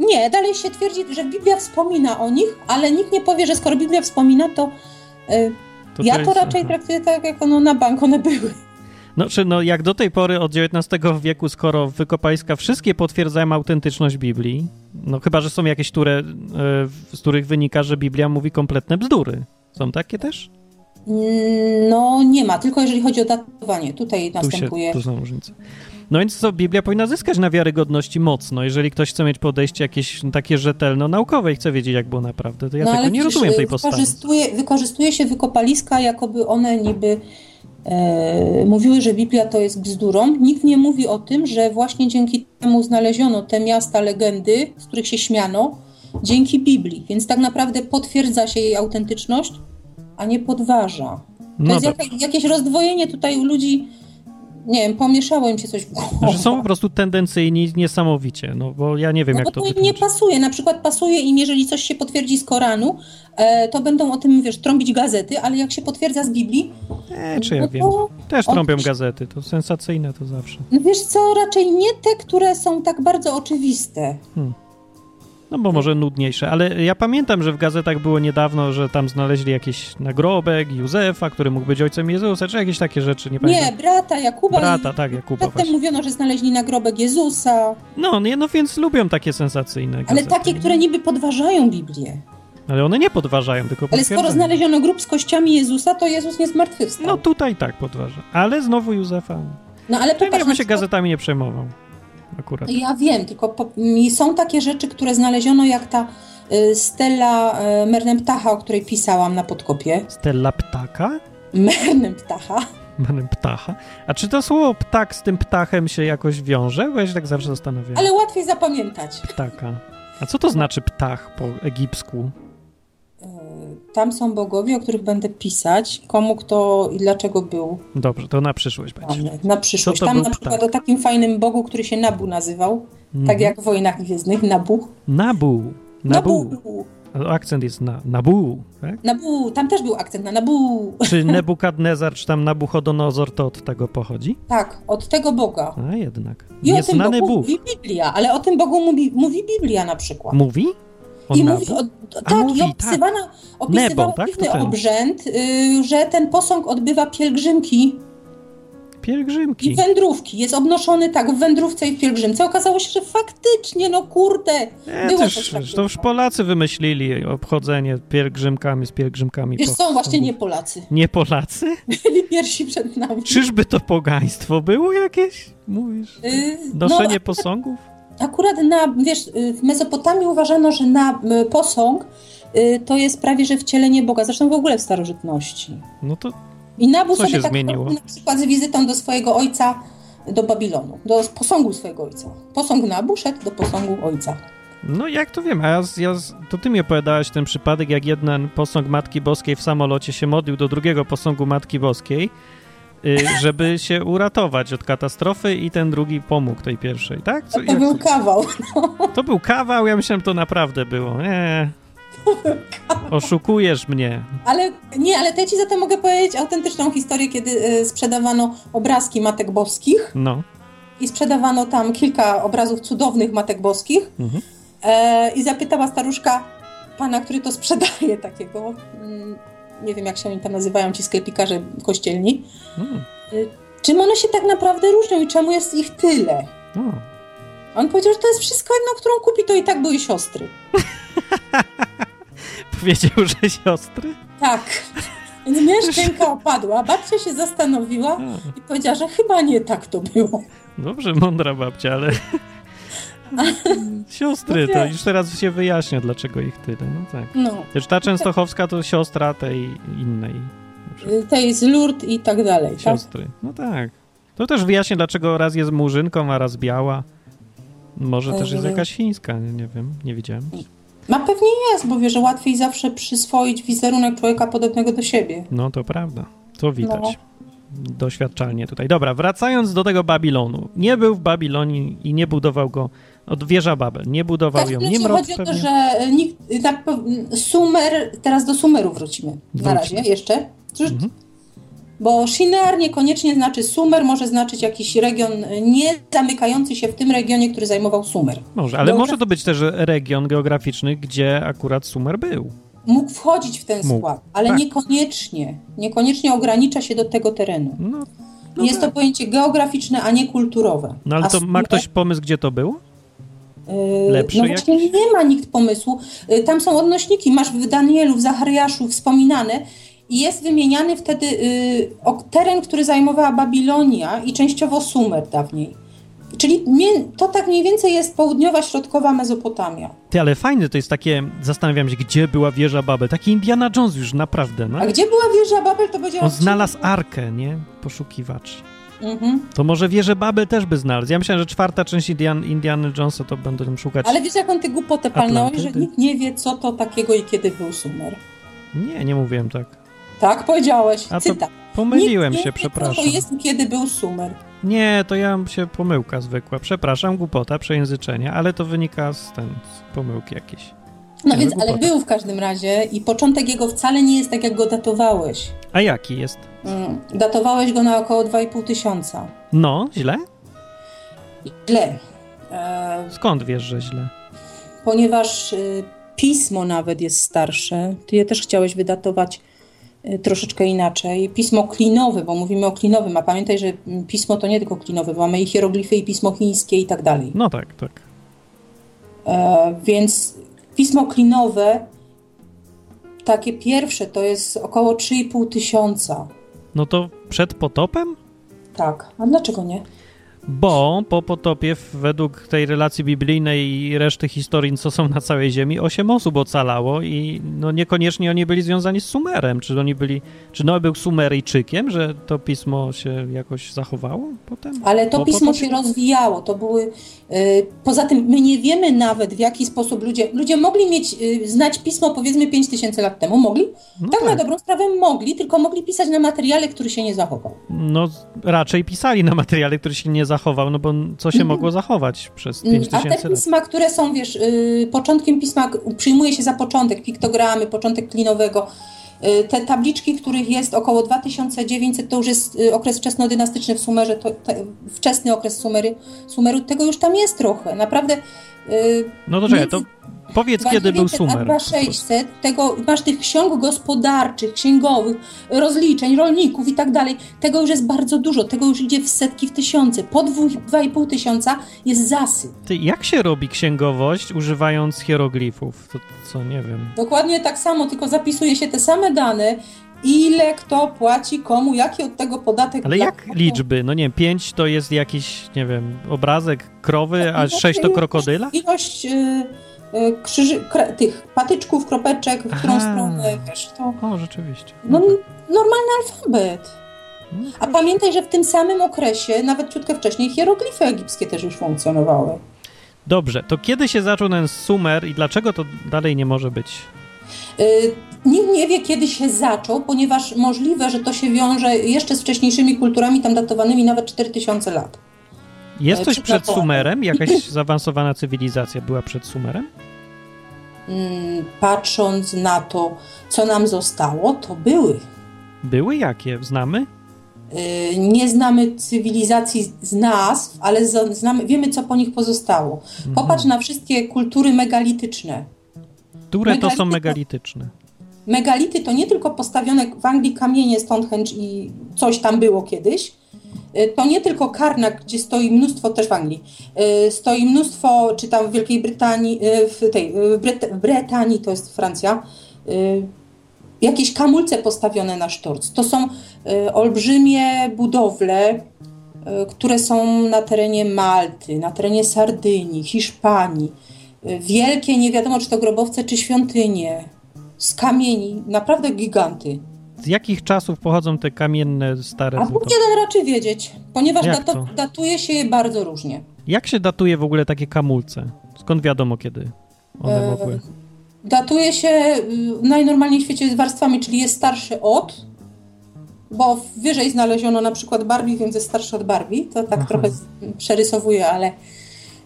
[SPEAKER 2] Nie, dalej się twierdzi, że Biblia wspomina o nich, ale nikt nie powie, że skoro Biblia wspomina, to e,
[SPEAKER 1] To
[SPEAKER 2] ja
[SPEAKER 1] jest- mhm.
[SPEAKER 2] to raczej
[SPEAKER 1] aha.
[SPEAKER 2] traktuję tak, jak ono na bank one były.
[SPEAKER 1] No, czy no, jak do tej pory od XIX wieku, skoro wykopaliska wszystkie potwierdzają autentyczność Biblii, no chyba, że są jakieś, które, e, w- z których wynika, że Biblia mówi kompletne bzdury. Są takie też?
[SPEAKER 2] Mm, No nie ma, tylko jeżeli chodzi o datowanie. Tutaj
[SPEAKER 1] Tu, się,
[SPEAKER 2] następuje.
[SPEAKER 1] tu są różnice. No więc co, Biblia powinna zyskać na wiarygodności mocno, jeżeli ktoś chce mieć podejście jakieś takie rzetelno-naukowe i chce wiedzieć, jak było naprawdę, to ja
[SPEAKER 2] no
[SPEAKER 1] tego nie
[SPEAKER 2] przecież,
[SPEAKER 1] rozumiem tej
[SPEAKER 2] y,
[SPEAKER 1] postawy.
[SPEAKER 2] Wykorzystuje, wykorzystuje się wykopaliska, jakoby one niby e, mówiły, że Biblia to jest bzdurą. Nikt nie mówi o tym, że właśnie dzięki temu znaleziono te miasta legendy, z których się śmiano, dzięki Biblii. Więc tak naprawdę potwierdza się jej autentyczność, a nie podważa. To
[SPEAKER 1] No
[SPEAKER 2] jest
[SPEAKER 1] tak.
[SPEAKER 2] jaka- jakieś rozdwojenie tutaj u ludzi. Nie wiem, pomieszało im się coś w głowie.
[SPEAKER 1] Że są po prostu tendencyjni niesamowicie, no bo ja nie wiem,
[SPEAKER 2] No
[SPEAKER 1] jak
[SPEAKER 2] bo
[SPEAKER 1] to
[SPEAKER 2] to im nie
[SPEAKER 1] wytłumaczyć.
[SPEAKER 2] pasuje. Na przykład pasuje im, jeżeli coś się potwierdzi z Koranu, e, to będą o tym, wiesz, trąbić gazety, ale jak się potwierdza z Biblii,
[SPEAKER 1] E, czy ja
[SPEAKER 2] no
[SPEAKER 1] wiem.
[SPEAKER 2] to,
[SPEAKER 1] Też
[SPEAKER 2] on-
[SPEAKER 1] trąbią gazety, to sensacyjne to zawsze.
[SPEAKER 2] no wiesz co, raczej nie te, które są tak bardzo oczywiste.
[SPEAKER 1] No bo może nudniejsze, ale ja pamiętam, że w gazetach było niedawno, że tam znaleźli jakiś nagrobek Józefa, który mógł być ojcem Jezusa, czy jakieś takie rzeczy, nie pamiętam.
[SPEAKER 2] Nie, brata Jakuba.
[SPEAKER 1] Brata,
[SPEAKER 2] i-
[SPEAKER 1] tak, Jakuba
[SPEAKER 2] Przedtem
[SPEAKER 1] właśnie.
[SPEAKER 2] mówiono, że znaleźli nagrobek Jezusa,
[SPEAKER 1] No, nie, no więc lubią takie sensacyjne
[SPEAKER 2] ale
[SPEAKER 1] gazety.
[SPEAKER 2] takie, które niby podważają Biblię.
[SPEAKER 1] Ale one nie podważają, tylko
[SPEAKER 2] Ale skoro
[SPEAKER 1] potwierdzają.
[SPEAKER 2] znaleziono grób z kościami Jezusa, to Jezus nie zmartwychwstał.
[SPEAKER 1] No tutaj tak podważa, ale znowu Józefa.
[SPEAKER 2] no ale
[SPEAKER 1] To ja
[SPEAKER 2] popatrz, na
[SPEAKER 1] bym się
[SPEAKER 2] przykład-
[SPEAKER 1] gazetami nie przejmował akurat.
[SPEAKER 2] Ja wiem, tylko po, m, są takie rzeczy, które znaleziono, jak ta y, stela y, Mernem Ptacha, o której pisałam na podkopie. [LAUGHS]
[SPEAKER 1] Stella ptaka?
[SPEAKER 2] Mernem Ptacha?
[SPEAKER 1] Manem ptacha? A czy to słowo ptak z tym ptachem się jakoś wiąże? Bo ja się tak zawsze zastanawiam.
[SPEAKER 2] Ale łatwiej zapamiętać.
[SPEAKER 1] Ptaka. A co to znaczy ptach po egipsku?
[SPEAKER 2] Y, Tam są bogowie, o których będę pisać, komu kto i dlaczego był
[SPEAKER 1] Dobrze, to na przyszłość będzie.
[SPEAKER 2] dany, na przyszłość.
[SPEAKER 1] Co to
[SPEAKER 2] Tam
[SPEAKER 1] był
[SPEAKER 2] na przykład
[SPEAKER 1] ptak?
[SPEAKER 2] o takim fajnym bogu, który się Nabu nazywał,
[SPEAKER 1] Mhm.
[SPEAKER 2] tak jak w Wojnach Gwiezdnych, Nabu.
[SPEAKER 1] Nabu. Nabu.
[SPEAKER 2] Nabu,
[SPEAKER 1] A Akcent jest na Nabu, tak?
[SPEAKER 2] Nabu. tam też był akcent na Nabu. [LAUGHS]
[SPEAKER 1] Czy Nebukadnezar, czy tam Nabuchodonozor, to od tego pochodzi?
[SPEAKER 2] Tak, od tego boga.
[SPEAKER 1] A jednak.
[SPEAKER 2] I o tym
[SPEAKER 1] Nieznany
[SPEAKER 2] Bogu
[SPEAKER 1] Bóg.
[SPEAKER 2] mówi Biblia, ale o tym Bogu mówi, mówi Biblia na przykład.
[SPEAKER 1] Mówi? O
[SPEAKER 2] I
[SPEAKER 1] Nabu?
[SPEAKER 2] mówi, o, o,
[SPEAKER 1] A
[SPEAKER 2] tak,
[SPEAKER 1] mówi,
[SPEAKER 2] i
[SPEAKER 1] tak.
[SPEAKER 2] opisywano, opisywano
[SPEAKER 1] Nebo, tak?
[SPEAKER 2] dziwny
[SPEAKER 1] To ten.
[SPEAKER 2] obrzęd, y, że ten posąg odbywa pielgrzymki i
[SPEAKER 1] Pielgrzymki.
[SPEAKER 2] wędrówki. Jest obnoszony tak w wędrówce i w pielgrzymce. Okazało się, że faktycznie, no kurde,
[SPEAKER 1] E,
[SPEAKER 2] było
[SPEAKER 1] to, już,
[SPEAKER 2] coś takiego.
[SPEAKER 1] to już Polacy wymyślili obchodzenie pielgrzymkami z pielgrzymkami.
[SPEAKER 2] Wiesz
[SPEAKER 1] po-
[SPEAKER 2] co, właśnie nie Polacy. [LAUGHS]
[SPEAKER 1] Nie Polacy?
[SPEAKER 2] Byli pierwsi przed nami.
[SPEAKER 1] Czyżby to pogaństwo było jakieś? Mówisz?
[SPEAKER 2] Y,
[SPEAKER 1] Noszenie posągów?
[SPEAKER 2] Akurat na, wiesz, y, w Mesopotamii uważano, że na y, posąg y, to jest prawie, że wcielenie Boga. Zresztą w ogóle w starożytności.
[SPEAKER 1] No to
[SPEAKER 2] I Nabu
[SPEAKER 1] Co
[SPEAKER 2] sobie
[SPEAKER 1] się
[SPEAKER 2] tak
[SPEAKER 1] zmieniło?
[SPEAKER 2] robił na przykład z wizytą do swojego ojca do Babilonu, do posągu swojego ojca. Posąg Nabu szedł do posągu ojca.
[SPEAKER 1] No jak to wiem, a ja, z- ja, z- to ty mi opowiadałaś ten przypadek, jak jeden posąg Matki Boskiej w samolocie się modlił do drugiego posągu Matki Boskiej, y,
[SPEAKER 2] [LAUGHS]
[SPEAKER 1] żeby się uratować od katastrofy i ten drugi pomógł tej pierwszej, tak? Co,
[SPEAKER 2] To
[SPEAKER 1] jak,
[SPEAKER 2] był kawał.
[SPEAKER 1] to był kawał, ja myślałem, to naprawdę było. Nie. Oszukujesz mnie.
[SPEAKER 2] Ale nie, ale to ja ci zatem mogę powiedzieć autentyczną historię, kiedy e, sprzedawano obrazki Matek Boskich
[SPEAKER 1] No.
[SPEAKER 2] i sprzedawano tam kilka obrazów cudownych Matek Boskich
[SPEAKER 1] Mhm.
[SPEAKER 2] e, i zapytała staruszka pana, który to sprzedaje takiego, mm, nie wiem jak się oni tam nazywają, ci sklepikarze kościelni,
[SPEAKER 1] Mm.
[SPEAKER 2] czym one się tak naprawdę różnią i czemu jest ich tyle?
[SPEAKER 1] O.
[SPEAKER 2] On powiedział, że to jest wszystko jedno, którą kupi, to i tak były siostry.
[SPEAKER 1] Powiedział, [LAUGHS] że siostry?
[SPEAKER 2] Tak. Więc mieszczęka opadła, babcia się zastanowiła
[SPEAKER 1] A,
[SPEAKER 2] i powiedziała, że chyba nie tak to było.
[SPEAKER 1] dobrze, mądra babcia,
[SPEAKER 2] [LAUGHS]
[SPEAKER 1] ale... Siostry,
[SPEAKER 2] No
[SPEAKER 1] to
[SPEAKER 2] wiesz.
[SPEAKER 1] już teraz się wyjaśnia, dlaczego ich tyle, no tak.
[SPEAKER 2] No,
[SPEAKER 1] Też ta częstochowska to siostra tej innej
[SPEAKER 2] y, to jest lurt i tak dalej, tak?
[SPEAKER 1] siostry. No tak. To też wyjaśnia, dlaczego raz jest murzynką, a raz biała. Może też jest
[SPEAKER 2] Mhm.
[SPEAKER 1] jakaś chińska, nie, nie wiem, nie widziałem.
[SPEAKER 2] Ma pewnie jest, bo wie, że łatwiej zawsze przyswoić wizerunek człowieka podobnego do siebie.
[SPEAKER 1] No to prawda, to widać.
[SPEAKER 2] No.
[SPEAKER 1] Doświadczalnie tutaj. Dobra, wracając do tego Babilonu. Nie był w Babilonie i nie budował go od wieża Babel. Nie budował
[SPEAKER 2] Tak,
[SPEAKER 1] ją.
[SPEAKER 2] wiecie,
[SPEAKER 1] Nie mrok
[SPEAKER 2] chodzi o to,
[SPEAKER 1] pewnie.
[SPEAKER 2] że y, nikt, y, na, pew- Sumer, teraz do Sumeru wrócimy.
[SPEAKER 1] Wróćmy. Mhm.
[SPEAKER 2] Na razie jeszcze. Czy- Bo Shinar niekoniecznie znaczy Sumer, może znaczyć jakiś region y, nie zamykający się w tym regionie, który zajmował Sumer.
[SPEAKER 1] Może, ale
[SPEAKER 2] Geograf-
[SPEAKER 1] może to być też region geograficzny, gdzie akurat Sumer był.
[SPEAKER 2] mógł wchodzić w ten
[SPEAKER 1] Mógł.
[SPEAKER 2] skład, ale
[SPEAKER 1] Tak.
[SPEAKER 2] niekoniecznie. Niekoniecznie ogranicza się do tego terenu.
[SPEAKER 1] No,
[SPEAKER 2] jest to pojęcie geograficzne, a nie kulturowe.
[SPEAKER 1] no ale
[SPEAKER 2] A
[SPEAKER 1] to ma
[SPEAKER 2] Sumer-
[SPEAKER 1] ktoś pomysł, gdzie to było?
[SPEAKER 2] Yy,
[SPEAKER 1] Lepszy
[SPEAKER 2] No właśnie
[SPEAKER 1] jakiś?
[SPEAKER 2] nie ma nikt pomysłu. Yy, Tam są odnośniki, masz w Danielu, w Zachariaszu wspominane i jest wymieniany wtedy yy, ok- teren, który zajmowała Babilonia i częściowo Sumer dawniej. Czyli mie- to tak mniej więcej jest południowa, środkowa Mezopotamia.
[SPEAKER 1] Ty, ale fajne to jest takie, zastanawiam się, gdzie była wieża Babel. Taki Indiana Jones już, naprawdę, no.
[SPEAKER 2] A gdzie była wieża Babel, to będzie...
[SPEAKER 1] On
[SPEAKER 2] odcinek-
[SPEAKER 1] No, znalazł arkę, nie? Poszukiwacz.
[SPEAKER 2] Mhm.
[SPEAKER 1] To może wieżę Babel też by znalazł. Ja myślałem, że czwarta część Indian, Indiana Jonesa to będą tam szukać.
[SPEAKER 2] Ale wiesz, jaką ty głupotę palnąłeś, że
[SPEAKER 1] Atlantydy.
[SPEAKER 2] nikt nie wie, co to takiego i kiedy był Sumer.
[SPEAKER 1] Nie, nie mówiłem tak.
[SPEAKER 2] Tak powiedziałeś,
[SPEAKER 1] A to-
[SPEAKER 2] cytat.
[SPEAKER 1] Pomyliłem
[SPEAKER 2] Nikt nie
[SPEAKER 1] się,
[SPEAKER 2] wie, Co
[SPEAKER 1] przepraszam.
[SPEAKER 2] to jest i kiedy był Sumer.
[SPEAKER 1] Nie, to ja się pomyłka zwykła. Przepraszam, głupota, przejęzyczenie, ale to wynika z ten z pomyłki jakiejś.
[SPEAKER 2] No
[SPEAKER 1] Nie,
[SPEAKER 2] więc,
[SPEAKER 1] no
[SPEAKER 2] ale
[SPEAKER 1] głupota.
[SPEAKER 2] był w każdym razie i początek jego wcale nie jest tak, jak go datowałeś.
[SPEAKER 1] A jaki jest?
[SPEAKER 2] Mm, Datowałeś go na około 2,5 tysiąca.
[SPEAKER 1] No, źle?
[SPEAKER 2] Źle, e,
[SPEAKER 1] Skąd wiesz, że źle?
[SPEAKER 2] ponieważ e, pismo nawet jest starsze. Ty je też chciałeś wydatować e, troszeczkę inaczej. Pismo klinowe, bo mówimy o klinowym, a pamiętaj, że mm, pismo to nie tylko klinowe, bo mamy i hieroglify, i pismo chińskie i tak dalej.
[SPEAKER 1] No tak, tak.
[SPEAKER 2] E, Więc pismo klinowe, takie pierwsze, to jest około 3,5 tysiąca.
[SPEAKER 1] No to przed potopem?
[SPEAKER 2] Tak, a dlaczego nie?
[SPEAKER 1] Bo po potopie, w- według tej relacji biblijnej i reszty historii, co są na całej ziemi, osiem osób ocalało i no niekoniecznie oni byli związani z Sumerem. Czy oni byli, czy Noe był Sumeryjczykiem, że to pismo się jakoś zachowało potem?
[SPEAKER 2] Ale No, to
[SPEAKER 1] Po
[SPEAKER 2] pismo
[SPEAKER 1] potopie?
[SPEAKER 2] się rozwijało, to były. y, Poza tym my nie wiemy nawet w jaki sposób ludzie. Ludzie mogli mieć, y, znać pismo powiedzmy 5 tysięcy lat temu, mogli?
[SPEAKER 1] No
[SPEAKER 2] tak, na dobrą sprawę mogli, tylko mogli pisać na materiale, który się nie zachował.
[SPEAKER 1] No, z- raczej pisali na materiale, który się nie zachował, no bo n- co się
[SPEAKER 2] Mhm.
[SPEAKER 1] mogło zachować przez
[SPEAKER 2] Mm,
[SPEAKER 1] 5000
[SPEAKER 2] A te
[SPEAKER 1] tysięcy lat?
[SPEAKER 2] pisma, które są, wiesz, y, początkiem pisma k- przyjmuje się za początek, piktogramy, początek klinowego. y, Te tabliczki, których jest około 2900, to już jest y, okres wczesnodynastyczny w Sumerze, to, te, wczesny okres Sumery, Sumeru, tego już tam jest trochę. Naprawdę y,
[SPEAKER 1] No to czekaj,
[SPEAKER 2] między
[SPEAKER 1] to powiedz, kiedy był
[SPEAKER 2] 2900
[SPEAKER 1] Sumer.
[SPEAKER 2] a 2600, tego, masz tych ksiąg gospodarczych, księgowych, rozliczeń, rolników i tak dalej. Tego już jest bardzo dużo, tego już idzie w setki, w tysiące. Po dwu- 2,5 tysiąca jest zasyp.
[SPEAKER 1] Ty, jak się robi księgowość używając hieroglifów? To co, nie wiem.
[SPEAKER 2] Dokładnie tak samo, tylko zapisuje się te same dane, ile kto płaci komu, jaki od tego podatek.
[SPEAKER 1] Ale
[SPEAKER 2] dla
[SPEAKER 1] jak
[SPEAKER 2] kogo.
[SPEAKER 1] liczby? No nie wiem, 5 to jest jakiś, nie wiem, obrazek
[SPEAKER 2] Tak,
[SPEAKER 1] krowy,
[SPEAKER 2] no
[SPEAKER 1] a 6 to krokodyla?
[SPEAKER 2] Ilość y, y, krzyży, kre, tych patyczków, kropeczek, w którą
[SPEAKER 1] Aha.
[SPEAKER 2] stronę, wiesz, to
[SPEAKER 1] O, rzeczywiście.
[SPEAKER 2] no,
[SPEAKER 1] No tak.
[SPEAKER 2] normalny alfabet.
[SPEAKER 1] No
[SPEAKER 2] A pamiętaj, że w tym samym okresie, nawet ciutkę wcześniej, hieroglify egipskie też już funkcjonowały.
[SPEAKER 1] Dobrze, to kiedy się zaczął ten Sumer i dlaczego to dalej nie może być?
[SPEAKER 2] Y, Nikt nie wie, kiedy się zaczął, ponieważ możliwe, że to się wiąże jeszcze z wcześniejszymi kulturami, tam datowanymi nawet 4000 lat.
[SPEAKER 1] Jest
[SPEAKER 2] E,
[SPEAKER 1] coś
[SPEAKER 2] przed
[SPEAKER 1] przed
[SPEAKER 2] Napoleonem.
[SPEAKER 1] Sumerem? Jakaś zaawansowana cywilizacja była przed Sumerem?
[SPEAKER 2] Mm, patrząc na to, co nam zostało, to były.
[SPEAKER 1] Były jakie? Znamy?
[SPEAKER 2] Yy, Nie znamy cywilizacji z nazw, ale z- znamy, wiemy, co po nich pozostało. Popatrz na wszystkie kultury megalityczne.
[SPEAKER 1] Które to są
[SPEAKER 2] Megality-
[SPEAKER 1] megalityczne?
[SPEAKER 2] Megality to nie tylko postawione w Anglii kamienie Stonehenge i coś tam było kiedyś. Y, To nie tylko Karnak, gdzie stoi mnóstwo, też w Anglii, y, stoi mnóstwo, czy tam w Wielkiej Brytanii, y, w tej, y, w Bryt- w Brytanii, to jest Francja, y, jakieś kamulce postawione na sztorc. To są y, olbrzymie budowle, y, które są na terenie Malty, na terenie Sardynii, Hiszpanii. Y, Wielkie, nie wiadomo czy to grobowce, czy świątynie z kamieni, naprawdę giganty.
[SPEAKER 1] Z jakich czasów pochodzą te kamienne, stare
[SPEAKER 2] A
[SPEAKER 1] budowy?
[SPEAKER 2] pójdzie ten raczy wiedzieć, ponieważ
[SPEAKER 1] Jak
[SPEAKER 2] dato-
[SPEAKER 1] to?
[SPEAKER 2] datuje się je bardzo różnie.
[SPEAKER 1] Jak się datuje w ogóle takie kamulce? Skąd wiadomo, kiedy one
[SPEAKER 2] E,
[SPEAKER 1] mogły?
[SPEAKER 2] Datuje się y, najnormalniej w świecie z warstwami, czyli jest starszy od, bo wyżej znaleziono na przykład Barbie, więc jest starszy od Barbie. To tak
[SPEAKER 1] Aha.
[SPEAKER 2] trochę z- przerysowuję, ale.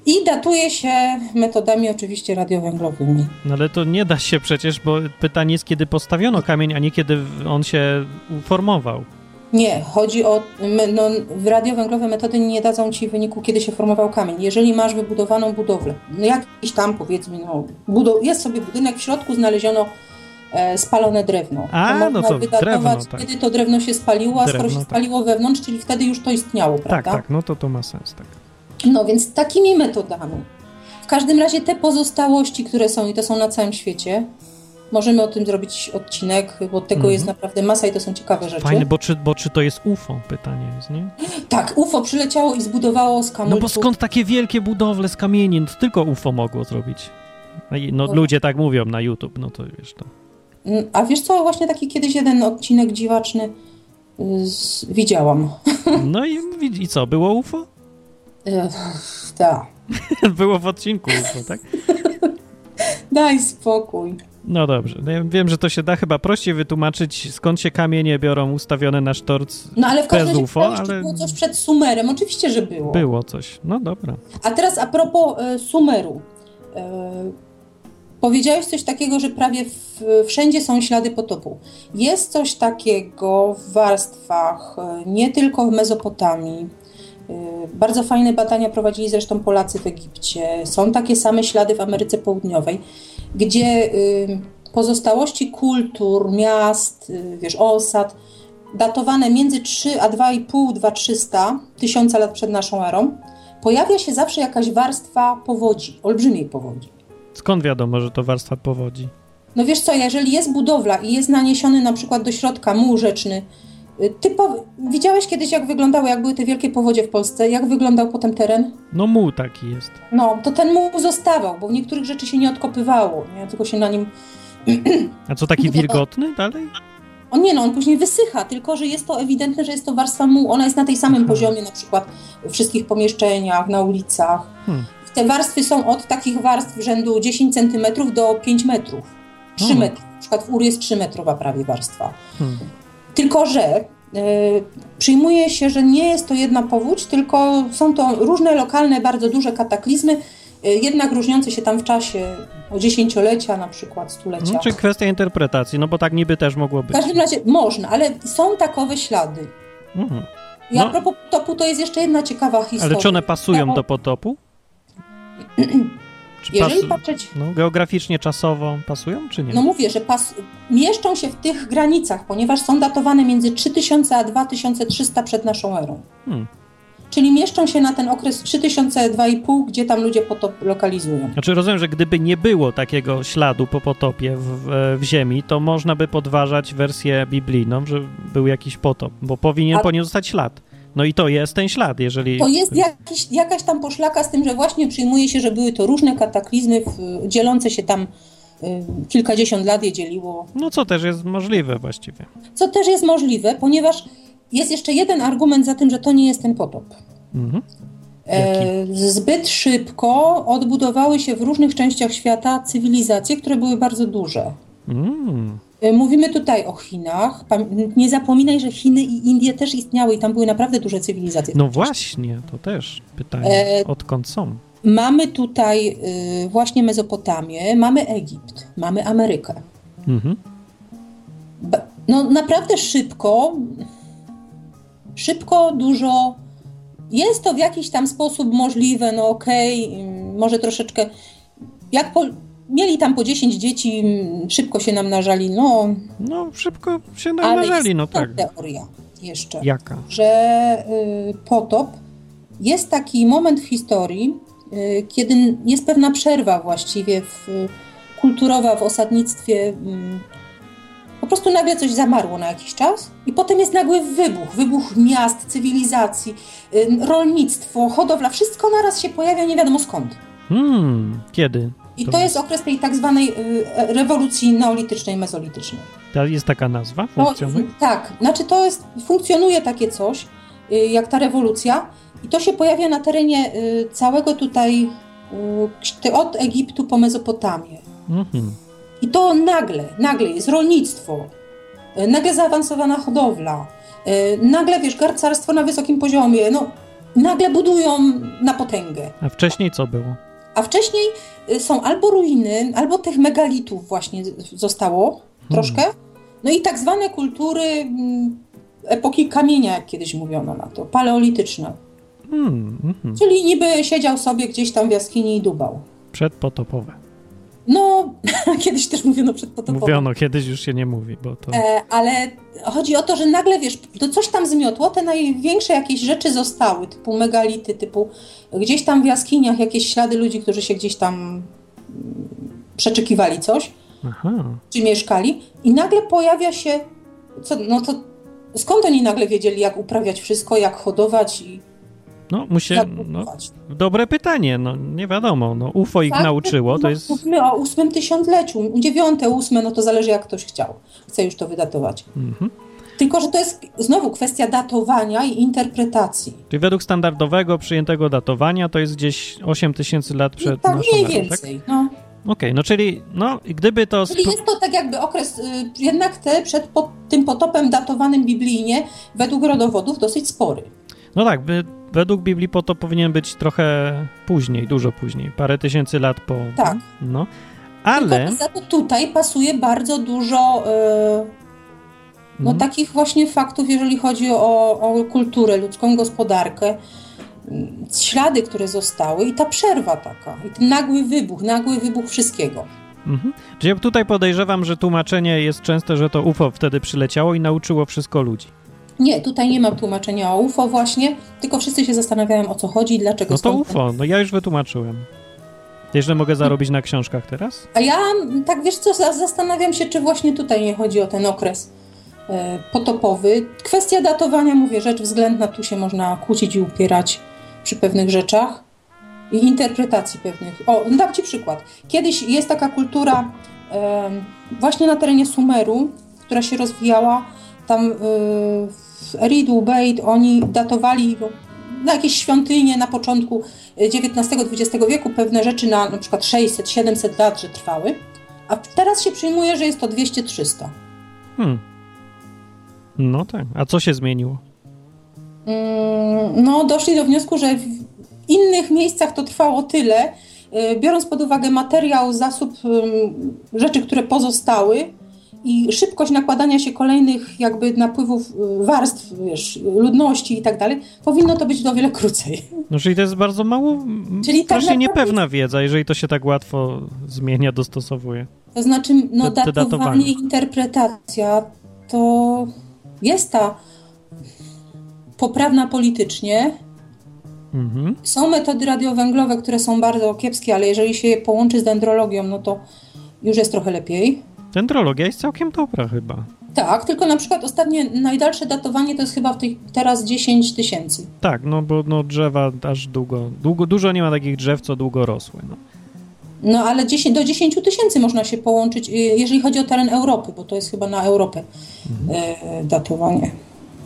[SPEAKER 2] I datuje się metodami oczywiście radiowęglowymi.
[SPEAKER 1] No ale to nie da się przecież, bo pytanie jest, kiedy postawiono kamień, a nie kiedy w- on się uformował.
[SPEAKER 2] Nie, chodzi o. me- No, radiowęglowe metody nie dadzą ci wyniku, kiedy się formował kamień. Jeżeli masz wybudowaną budowlę, no jakiś tam powiedzmy, no, budo- jest sobie budynek, w środku znaleziono e, spalone drewno.
[SPEAKER 1] A,
[SPEAKER 2] to
[SPEAKER 1] no
[SPEAKER 2] można
[SPEAKER 1] to
[SPEAKER 2] wydatować,
[SPEAKER 1] drewno, tak.
[SPEAKER 2] kiedy to drewno się spaliło, a skoro
[SPEAKER 1] Drewno,
[SPEAKER 2] się
[SPEAKER 1] tak.
[SPEAKER 2] spaliło wewnątrz, czyli wtedy już to istniało,
[SPEAKER 1] Tak,
[SPEAKER 2] prawda?
[SPEAKER 1] tak, no to to ma sens, tak.
[SPEAKER 2] No więc takimi metodami. W każdym razie te pozostałości, które są i to są na całym świecie, możemy o tym zrobić odcinek, bo tego
[SPEAKER 1] Mhm.
[SPEAKER 2] jest naprawdę masa i to są ciekawe rzeczy.
[SPEAKER 1] Fajne, bo czy, bo czy to jest UFO? Pytanie jest, nie?
[SPEAKER 2] Tak, UFO przyleciało i zbudowało z
[SPEAKER 1] No
[SPEAKER 2] kamyczków.
[SPEAKER 1] bo skąd takie wielkie budowle z kamieni? No to tylko UFO mogło zrobić. No i- No
[SPEAKER 2] No.
[SPEAKER 1] ludzie tak mówią na YouTube, no to wiesz to.
[SPEAKER 2] Mm, A wiesz co, właśnie taki kiedyś jeden odcinek dziwaczny y, z... widziałam.
[SPEAKER 1] No i, widz- i co, było UFO? [LAUGHS]
[SPEAKER 2] Y, Ech, Da,
[SPEAKER 1] było w odcinku UFO, tak?
[SPEAKER 2] daj spokój.
[SPEAKER 1] No dobrze, no ja wiem, że to się da chyba prościej wytłumaczyć, skąd się kamienie biorą ustawione na sztorc.
[SPEAKER 2] No ale w każdym
[SPEAKER 1] Bez
[SPEAKER 2] razie
[SPEAKER 1] UFO,
[SPEAKER 2] pytałeś, czy
[SPEAKER 1] ale-
[SPEAKER 2] było coś przed Sumerem. Oczywiście, że było.
[SPEAKER 1] Było coś. No dobra.
[SPEAKER 2] A teraz a propos e, Sumeru. E, powiedziałeś coś takiego, że prawie w, wszędzie są ślady potopu. Jest coś takiego w warstwach, e, nie tylko w Mezopotamii. E, Bardzo fajne badania prowadzili zresztą Polacy w Egipcie. Są takie same ślady w Ameryce Południowej, gdzie y, pozostałości kultur, miast, y, wiesz, osad, datowane między 3 a 2,5-2,300 tysiąca lat przed naszą erą, pojawia się zawsze jakaś warstwa powodzi, olbrzymiej powodzi.
[SPEAKER 1] Skąd wiadomo, że to warstwa powodzi?
[SPEAKER 2] No wiesz co, jeżeli jest budowla i jest naniesiony na przykład do środka muł rzeczny, y, typowy, widziałeś kiedyś jak wyglądały, jak były te wielkie powodzie w Polsce, jak wyglądał potem teren?
[SPEAKER 1] No muł taki jest.
[SPEAKER 2] No, to ten muł zostawał, bo niektórych rzeczy się nie odkopywało, nie? tylko się na nim...
[SPEAKER 1] A co, taki
[SPEAKER 2] No to-
[SPEAKER 1] wilgotny dalej?
[SPEAKER 2] On nie, no on później wysycha, tylko że jest to ewidentne, że jest to warstwa muł, ona jest na tej samym
[SPEAKER 1] Aha.
[SPEAKER 2] poziomie na przykład w wszystkich pomieszczeniach, na ulicach.
[SPEAKER 1] Hmm.
[SPEAKER 2] Te warstwy są od takich warstw rzędu 10 cm do 5 metrów, 3
[SPEAKER 1] Hmm.
[SPEAKER 2] metrów. Na przykład w UR jest 3-metrowa prawie warstwa.
[SPEAKER 1] Hmm.
[SPEAKER 2] Tylko, że y, przyjmuje się, że nie jest to jedna powódź, tylko są to różne lokalne, bardzo duże kataklizmy, y, jednak różniące się tam w czasie o dziesięciolecia, na przykład stulecia.
[SPEAKER 1] No, czy kwestia interpretacji, no bo tak niby też mogło
[SPEAKER 2] W
[SPEAKER 1] być.
[SPEAKER 2] każdym razie można, ale są takowe ślady.
[SPEAKER 1] Mhm.
[SPEAKER 2] I a
[SPEAKER 1] No.
[SPEAKER 2] propos potopu, to jest jeszcze jedna ciekawa historia.
[SPEAKER 1] Ale czy one pasują
[SPEAKER 2] No.
[SPEAKER 1] do potopu? Czy
[SPEAKER 2] Jeżeli
[SPEAKER 1] pas-
[SPEAKER 2] patrzeć,
[SPEAKER 1] no, geograficznie, czasowo pasują, czy nie?
[SPEAKER 2] no mówię, że pas... mieszczą się w tych granicach, ponieważ są datowane między 3000 a 2300 przed naszą erą.
[SPEAKER 1] Hmm.
[SPEAKER 2] Czyli mieszczą się na ten okres 3000-2,5, gdzie tam ludzie potop lokalizują.
[SPEAKER 1] Znaczy rozumiem, że gdyby nie było takiego śladu po potopie w, w ziemi, to można by podważać wersję biblijną, że był jakiś potop, bo powinien
[SPEAKER 2] Ale-
[SPEAKER 1] po nim zostać ślad. No i to jest ten ślad, jeżeli...
[SPEAKER 2] To jest jakiś, jakaś tam poszlaka z tym, że właśnie przyjmuje się, że były to różne kataklizmy w, dzielące się tam y, kilkadziesiąt lat je dzieliło,
[SPEAKER 1] No co też jest możliwe właściwie.
[SPEAKER 2] co też jest możliwe, ponieważ jest jeszcze jeden argument za tym, że to nie jest ten potop.
[SPEAKER 1] Mhm.
[SPEAKER 2] E, zbyt szybko odbudowały się w różnych częściach świata cywilizacje, które były bardzo duże.
[SPEAKER 1] Mm.
[SPEAKER 2] E, Mówimy tutaj o Chinach. Pam- Nie zapominaj, że Chiny i Indie też istniały i tam były naprawdę duże cywilizacje.
[SPEAKER 1] No właśnie, to też pytanie,
[SPEAKER 2] E,
[SPEAKER 1] odkąd są?
[SPEAKER 2] Mamy tutaj y, właśnie Mezopotamię, mamy Egipt, mamy Amerykę.
[SPEAKER 1] Mhm.
[SPEAKER 2] Ba- No naprawdę szybko, szybko, dużo. Jest to w jakiś tam sposób możliwe, no okej, ym, może troszeczkę. Jak po, mieli tam po 10 dzieci, ym, szybko się namnażali, no
[SPEAKER 1] No szybko się
[SPEAKER 2] ale jest
[SPEAKER 1] należeli, no
[SPEAKER 2] ta
[SPEAKER 1] tak.
[SPEAKER 2] teoria jeszcze.
[SPEAKER 1] Jaka?
[SPEAKER 2] że y, potop jest taki moment w historii, y, kiedy jest pewna przerwa właściwie w, kulturowa w osadnictwie. mm, Po prostu nagle coś zamarło na jakiś czas i potem jest nagły wybuch, wybuch miast, cywilizacji, y, rolnictwo, hodowla, wszystko naraz się pojawia nie wiadomo skąd.
[SPEAKER 1] Hmm, kiedy?
[SPEAKER 2] I
[SPEAKER 1] To
[SPEAKER 2] to
[SPEAKER 1] jest-
[SPEAKER 2] jest okres tej tak zwanej y, rewolucji neolitycznej, mezolitycznej.
[SPEAKER 1] Ta, jest taka nazwa?
[SPEAKER 2] No,
[SPEAKER 1] Funkcjonuje?
[SPEAKER 2] tak, znaczy to jest, funkcjonuje takie coś, y, jak ta rewolucja i to się pojawia na terenie y, całego tutaj, y, ksz- od Egiptu po Mezopotamię.
[SPEAKER 1] Mhm.
[SPEAKER 2] I to nagle, nagle jest rolnictwo, y, nagle zaawansowana hodowla, y, nagle, wiesz, garcarstwo na wysokim poziomie, no, nagle budują na potęgę.
[SPEAKER 1] A wcześniej co było?
[SPEAKER 2] A wcześniej y, są albo ruiny, albo tych megalitów właśnie z- zostało troszkę. No i tak zwane kultury mm, epoki kamienia, jak kiedyś mówiono na to, paleolityczne.
[SPEAKER 1] Hmm, mhm.
[SPEAKER 2] Czyli niby siedział sobie gdzieś tam w jaskini i dubał.
[SPEAKER 1] Przedpotopowe.
[SPEAKER 2] No, [LAUGHS] kiedyś też mówiono przedpotopowo.
[SPEAKER 1] Mówiono, kiedyś już się nie mówi, bo to...
[SPEAKER 2] E, ale chodzi o to, że nagle, wiesz, to coś tam zmiotło, te największe jakieś rzeczy zostały, typu megality, typu gdzieś tam w jaskiniach jakieś ślady ludzi, którzy się gdzieś tam mm, przeczekiwali coś,
[SPEAKER 1] Aha.
[SPEAKER 2] czy mieszkali i nagle pojawia się, co, no to skąd oni nagle wiedzieli, jak uprawiać wszystko, jak hodować i
[SPEAKER 1] No, musi...
[SPEAKER 2] jak
[SPEAKER 1] No,
[SPEAKER 2] budować?
[SPEAKER 1] dobre pytanie, no nie wiadomo, no UFO ich
[SPEAKER 2] Tak,
[SPEAKER 1] nauczyło, to
[SPEAKER 2] no,
[SPEAKER 1] jest...
[SPEAKER 2] Mówimy o ósmym tysiącleciu, dziewiąte, ósme, no to zależy jak ktoś chciał. Chce już to wydatować.
[SPEAKER 1] Mhm.
[SPEAKER 2] Tylko, że to jest znowu kwestia datowania i interpretacji.
[SPEAKER 1] Czyli według standardowego, przyjętego datowania to jest gdzieś 8 tysięcy lat
[SPEAKER 2] No,
[SPEAKER 1] przed
[SPEAKER 2] tak
[SPEAKER 1] naszą
[SPEAKER 2] mniej
[SPEAKER 1] erą, tak?
[SPEAKER 2] więcej. No.
[SPEAKER 1] Okej, no czyli, no gdyby to...
[SPEAKER 2] Czyli
[SPEAKER 1] spro-
[SPEAKER 2] jest to tak jakby okres, y, jednak te przed po, tym potopem datowanym biblijnie według rodowodów dosyć spory.
[SPEAKER 1] No tak, by, według Biblii po to powinien być trochę później, dużo później, parę tysięcy lat po.
[SPEAKER 2] Tak.
[SPEAKER 1] No, ale.
[SPEAKER 2] Tylko za to tutaj pasuje bardzo dużo y, no,
[SPEAKER 1] Mhm.
[SPEAKER 2] takich właśnie faktów, jeżeli chodzi o, o kulturę, ludzką gospodarkę, mm, ślady, które zostały i ta przerwa taka, i ten nagły wybuch, nagły wybuch wszystkiego.
[SPEAKER 1] Mhm. Czyli ja tutaj podejrzewam, że tłumaczenie jest częste, że to UFO wtedy przyleciało i nauczyło wszystko ludzi.
[SPEAKER 2] Nie, tutaj nie mam tłumaczenia o UFO właśnie, tylko wszyscy się zastanawiają o co chodzi i dlaczego
[SPEAKER 1] No to
[SPEAKER 2] skąd-
[SPEAKER 1] UFO, no ja już wytłumaczyłem. Jeszcze mogę zarobić na książkach teraz?
[SPEAKER 2] A ja mm, tak wiesz co, za- zastanawiam się, czy właśnie tutaj nie chodzi o ten okres e, potopowy. Kwestia datowania, mówię, rzecz względna, tu się można kłócić i upierać przy pewnych rzeczach i interpretacji pewnych. O, no dam Ci przykład. Kiedyś jest taka kultura em, właśnie na terenie Sumeru, która się rozwijała tam y, w Eridu, Beit, oni datowali go na jakieś świątynie na początku XIX-XX wieku pewne rzeczy na na przykład 600-700 lat, że trwały, a teraz się przyjmuje, że jest to 200-300.
[SPEAKER 1] Hmm. No tak. A co się zmieniło?
[SPEAKER 2] Mm, No, doszli do wniosku, że w innych miejscach to trwało tyle, y, biorąc pod uwagę materiał, zasób ym, rzeczy, które pozostały i szybkość nakładania się kolejnych jakby napływów y, warstw, wiesz, ludności i tak dalej, powinno to być o wiele krócej.
[SPEAKER 1] No, czyli to jest bardzo mało.
[SPEAKER 2] Czyli
[SPEAKER 1] Czyli
[SPEAKER 2] tak
[SPEAKER 1] strasznie
[SPEAKER 2] naprawdę-
[SPEAKER 1] niepewna wiedza, jeżeli to się tak łatwo zmienia, dostosowuje.
[SPEAKER 2] To znaczy, no,
[SPEAKER 1] Te- te
[SPEAKER 2] datowanie
[SPEAKER 1] datowanie.
[SPEAKER 2] i interpretacja to jest ta poprawna politycznie.
[SPEAKER 1] Mhm.
[SPEAKER 2] Są metody radiowęglowe, które są bardzo kiepskie, ale jeżeli się je połączy z dendrologią, no to już jest trochę lepiej.
[SPEAKER 1] Dendrologia jest całkiem dobra chyba.
[SPEAKER 2] Tak, tylko na przykład ostatnie, najdalsze datowanie to jest chyba w tej, teraz 10 tysięcy.
[SPEAKER 1] Tak, no bo no, drzewa aż długo, długo, dużo nie ma takich drzew, co długo rosły. No.
[SPEAKER 2] No ale 10, do 10 tysięcy można się połączyć, y, jeżeli chodzi o teren Europy, bo to jest chyba na Europę y, datowanie.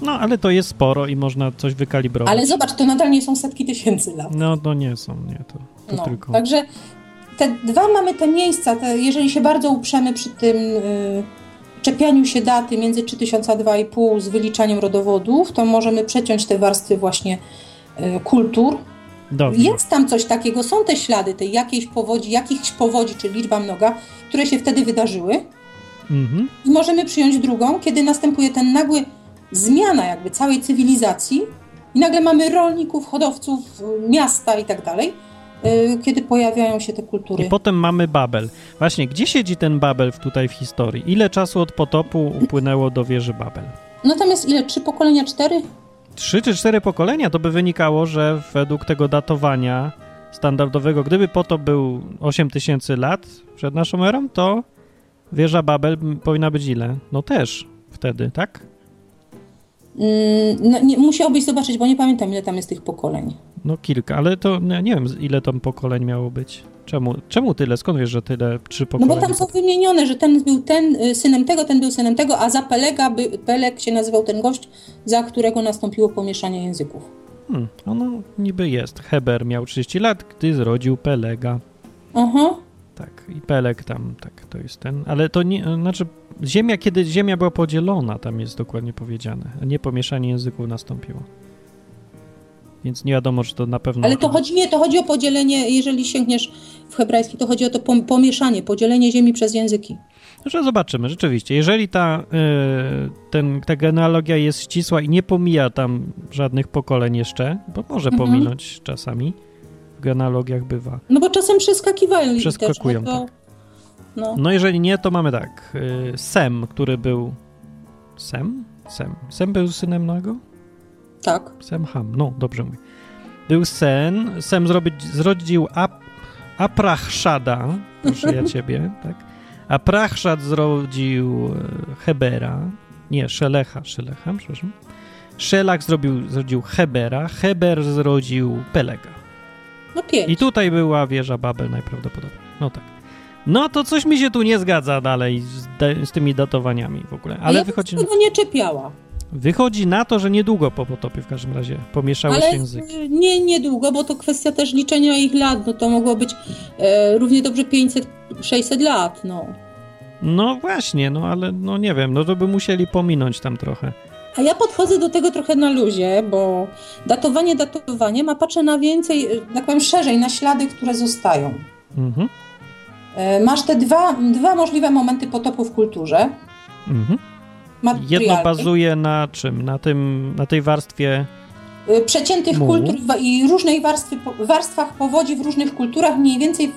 [SPEAKER 1] no, ale to jest sporo i można coś wykalibrować.
[SPEAKER 2] Ale zobacz, to nadal nie są setki tysięcy lat.
[SPEAKER 1] No, to nie są, nie, to, to
[SPEAKER 2] No,
[SPEAKER 1] tylko...
[SPEAKER 2] Także te dwa mamy te miejsca, te, jeżeli się bardzo uprzemy przy tym y, czepianiu się daty między 3000 a 2,5 z wyliczaniem rodowodów, to możemy przeciąć te warstwy właśnie y, kultur.
[SPEAKER 1] Dobrze.
[SPEAKER 2] Jest tam coś takiego, są te ślady tej jakiejś powodzi, jakichś powodzi, czy liczba mnoga, które się wtedy wydarzyły.
[SPEAKER 1] Mhm.
[SPEAKER 2] I możemy przyjąć drugą, kiedy następuje ten nagły zmiana jakby całej cywilizacji i nagle mamy rolników, hodowców, y, miasta i tak dalej, y, kiedy pojawiają się te
[SPEAKER 1] I
[SPEAKER 2] kultury.
[SPEAKER 1] potem mamy Babel. Właśnie, gdzie siedzi ten Babel w- tutaj w historii? Ile czasu od potopu upłynęło do wieży Babel?
[SPEAKER 2] Natomiast ile? Trzy pokolenia? Cztery?
[SPEAKER 1] Trzy czy cztery pokolenia, to by wynikało, że według tego datowania standardowego, gdyby potop był 8 tysięcy lat przed naszą erą, to wieża Babel m- powinna być ile? No też wtedy, tak?
[SPEAKER 2] Mm, no, nie, musiałbyś zobaczyć, bo nie pamiętam ile tam jest tych pokoleń.
[SPEAKER 1] No kilka, ale to no, ja nie wiem z- ile tam pokoleń miało być. Czemu, czemu tyle? Skąd wiesz, że tyle trzy
[SPEAKER 2] No
[SPEAKER 1] pokolenia?
[SPEAKER 2] bo tam są wymienione, że ten był ten y, synem tego, ten był synem tego, a za Pelega by, Peleg się nazywał ten gość, za którego nastąpiło pomieszanie języków.
[SPEAKER 1] Hmm, ono niby jest. Heber miał 30 lat, gdy zrodził Pelega.
[SPEAKER 2] Aha.
[SPEAKER 1] Tak, i Peleg tam, tak, to jest ten. Ale to nie, znaczy, ziemia, kiedy ziemia była podzielona, tam jest dokładnie powiedziane. a Nie pomieszanie języków nastąpiło. Więc nie wiadomo, że to na pewno...
[SPEAKER 2] Ale to chodzi, nie, to chodzi o podzielenie, jeżeli sięgniesz w hebrajski, to chodzi o to pom- pomieszanie, podzielenie ziemi przez języki.
[SPEAKER 1] Że zobaczymy, rzeczywiście. Jeżeli ta, y, ten, ta genealogia jest ścisła i nie pomija tam żadnych pokoleń jeszcze, bo może
[SPEAKER 2] Mhm.
[SPEAKER 1] pominąć czasami, w genealogiach bywa.
[SPEAKER 2] No bo czasem przeskakiwają. i też,
[SPEAKER 1] Przeskakują, tak.
[SPEAKER 2] no to, No.
[SPEAKER 1] No jeżeli nie, to mamy tak. y, Sem, który był... Sem? Sem. Sem był synem Noego?
[SPEAKER 2] Tak.
[SPEAKER 1] Sem Ham, no dobrze mówię. Był Sen, Sem zrobić, zrodził Ap, Aprachszada, proszę ja
[SPEAKER 2] [LAUGHS]
[SPEAKER 1] ciebie, tak? Aprachszad zrodził e, Hebera, nie, Szelecha, Szelecha, przepraszam. Szelach zrobił, zrodził Hebera, Heber zrodził Pelega.
[SPEAKER 2] No pięć.
[SPEAKER 1] I tutaj była wieża Babel najprawdopodobniej. No tak. No to coś mi się tu nie zgadza dalej z, de- z tymi datowaniami w ogóle.
[SPEAKER 2] A
[SPEAKER 1] Ale
[SPEAKER 2] No ja
[SPEAKER 1] wychodzi,
[SPEAKER 2] bym tego nie czepiała.
[SPEAKER 1] wychodzi na to, że niedługo po potopie w każdym razie pomieszały
[SPEAKER 2] Ale
[SPEAKER 1] się języki.
[SPEAKER 2] y, nie niedługo, bo to kwestia też liczenia ich lat. No to mogło być e, równie dobrze 500-600 lat. No.
[SPEAKER 1] No właśnie, no ale no nie wiem, no to by musieli pominąć tam trochę.
[SPEAKER 2] A ja podchodzę do tego trochę na luzie, bo datowanie datowaniem, a patrzę na więcej, y, tak powiem szerzej, na ślady, które zostają.
[SPEAKER 1] Mhm,
[SPEAKER 2] E, Masz te dwa, dwa możliwe momenty potopu w kulturze.
[SPEAKER 1] mhm. Jedno
[SPEAKER 2] materialnej.
[SPEAKER 1] bazuje na czym? Na tym, na tej warstwie,
[SPEAKER 2] Y, przeciętych
[SPEAKER 1] Muł.
[SPEAKER 2] kultur wa- i różnej warstwy, po- warstwach powodzi w różnych kulturach mniej więcej w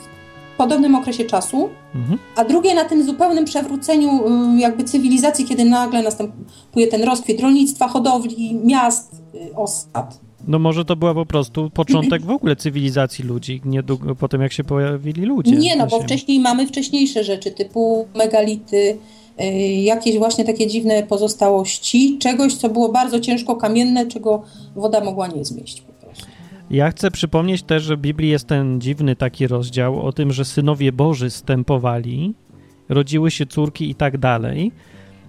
[SPEAKER 2] podobnym okresie czasu,
[SPEAKER 1] mhm,
[SPEAKER 2] a drugie na tym zupełnym przewróceniu y, jakby cywilizacji, kiedy nagle następuje ten rozkwit rolnictwa, hodowli, miast, y, osad.
[SPEAKER 1] no może to była po prostu początek w ogóle cywilizacji ludzi, niedługo po tym jak się pojawili ludzie.
[SPEAKER 2] Nie, no
[SPEAKER 1] na
[SPEAKER 2] bo
[SPEAKER 1] Ziemi.
[SPEAKER 2] wcześniej mamy wcześniejsze rzeczy typu megality, y, jakieś właśnie takie dziwne pozostałości, czegoś, co było bardzo ciężko kamienne, czego woda mogła nie zmieść po prostu.
[SPEAKER 1] Ja chcę przypomnieć też, że w Biblii jest ten dziwny taki rozdział o tym, że synowie Boży stępowali, rodziły się córki i tak dalej.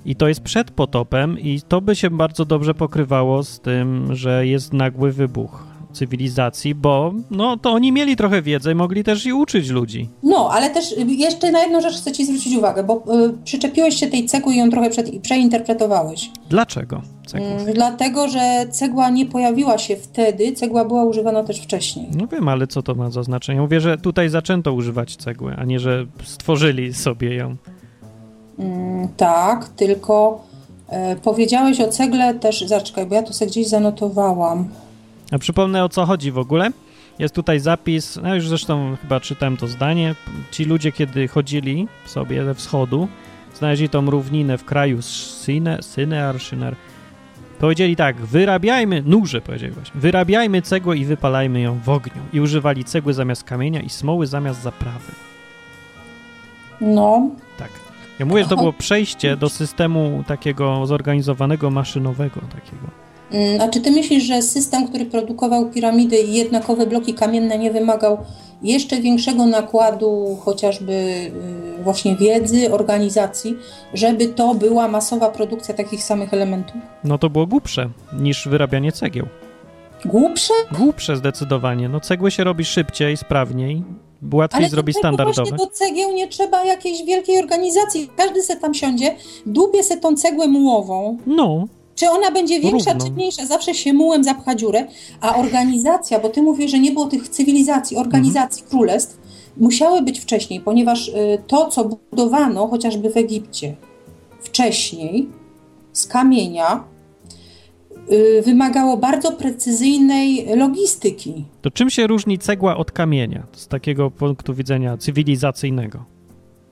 [SPEAKER 1] I to jest przed potopem, i to by się bardzo dobrze pokrywało z tym, że jest nagły wybuch cywilizacji, bo no to oni mieli trochę wiedzy, mogli też i uczyć ludzi.
[SPEAKER 2] No, ale też jeszcze na jedną rzecz chcę Ci zwrócić uwagę, bo y, przyczepiłeś się tej cegły i ją trochę przed, przeinterpretowałeś.
[SPEAKER 1] Dlaczego? Cegła?
[SPEAKER 2] Mm, dlatego, że cegła nie pojawiła się wtedy, cegła była używana też wcześniej.
[SPEAKER 1] No wiem, ale co to ma za znaczenie? Mówię, że tutaj zaczęto używać cegły, a nie, że stworzyli sobie ją.
[SPEAKER 2] Mm, tak, tylko e, powiedziałeś o cegle też, zaczekaj, bo ja to sobie gdzieś zanotowałam.
[SPEAKER 1] A przypomnę o co chodzi w ogóle. Jest tutaj zapis, no już zresztą chyba czytałem to zdanie. Ci ludzie, kiedy chodzili sobie ze wschodu, znaleźli tą równinę w kraju Sine, Synear, Szynar. Powiedzieli tak, wyrabiajmy, nurze powiedzieli właśnie, wyrabiajmy cegłę i wypalajmy ją w ogniu. I używali cegły zamiast kamienia i smoły zamiast zaprawy.
[SPEAKER 2] No,
[SPEAKER 1] Tak. Ja mówię, że to było przejście do systemu takiego zorganizowanego, maszynowego takiego.
[SPEAKER 2] Mm, a czy Ty myślisz, że system, który produkował piramidy i jednakowe bloki kamienne nie wymagał jeszcze większego nakładu chociażby y, właśnie wiedzy, organizacji, żeby to była masowa produkcja takich samych elementów?
[SPEAKER 1] No to było głupsze niż wyrabianie cegieł.
[SPEAKER 2] Głupsze?
[SPEAKER 1] Głupsze zdecydowanie. No cegły się robi szybciej, sprawniej,
[SPEAKER 2] Ale
[SPEAKER 1] łatwiej zrobi
[SPEAKER 2] dlaczego
[SPEAKER 1] standardowe.
[SPEAKER 2] Właśnie do cegieł nie trzeba jakiejś wielkiej organizacji. Każdy se tam siądzie, dłubie se tą cegłę mułową.
[SPEAKER 1] No,
[SPEAKER 2] Czy ona będzie większa,
[SPEAKER 1] Równo.
[SPEAKER 2] czy mniejsza, zawsze się mułem zapcha dziurę, a organizacja, bo ty mówisz, że nie było tych cywilizacji, organizacji królestw, musiały być wcześniej, ponieważ y, to, co budowano chociażby w Egipcie wcześniej z kamienia, y, wymagało bardzo precyzyjnej logistyki.
[SPEAKER 1] to czym się różni cegła od kamienia z takiego punktu widzenia cywilizacyjnego?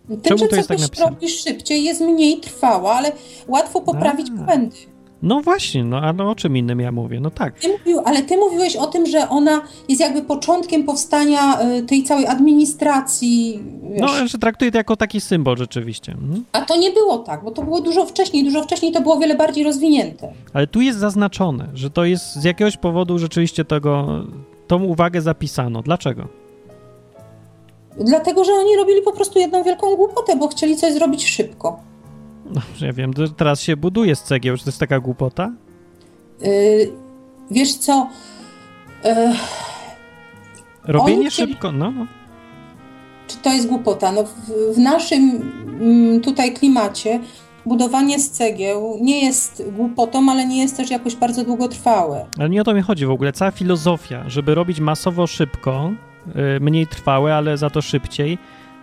[SPEAKER 2] Tym,
[SPEAKER 1] Czemu
[SPEAKER 2] że
[SPEAKER 1] to jest tak
[SPEAKER 2] coś
[SPEAKER 1] napisane?
[SPEAKER 2] robisz szybciej, jest mniej trwała, ale łatwo poprawić
[SPEAKER 1] A.
[SPEAKER 2] błędy.
[SPEAKER 1] No właśnie, no a no o czym innym ja mówię? No tak.
[SPEAKER 2] Ty mówił, ale ty mówiłeś o tym, że ona jest jakby początkiem powstania y, tej całej administracji. Wiesz.
[SPEAKER 1] No, że traktuję to jako taki symbol rzeczywiście. Mhm.
[SPEAKER 2] A to nie było tak, bo to było dużo wcześniej. Dużo wcześniej to było o wiele bardziej rozwinięte.
[SPEAKER 1] Ale tu jest zaznaczone, że to jest z jakiegoś powodu rzeczywiście tego, tą uwagę zapisano. Dlaczego?
[SPEAKER 2] Dlatego, że oni robili po prostu jedną wielką głupotę, bo chcieli coś zrobić szybko.
[SPEAKER 1] No, ja wiem, to teraz się buduje z cegieł, czy to jest taka głupota?
[SPEAKER 2] Y, wiesz co? Y,
[SPEAKER 1] Robienie
[SPEAKER 2] Oni chcieli-
[SPEAKER 1] szybko, no. no.
[SPEAKER 2] Czy to jest głupota? No w, w naszym mm, tutaj klimacie budowanie z cegieł nie jest głupotą, ale nie jest też jakoś bardzo długotrwałe.
[SPEAKER 1] Ale nie o to mi chodzi w ogóle. Cała filozofia, żeby robić masowo szybko, y, mniej trwałe, ale za to szybciej,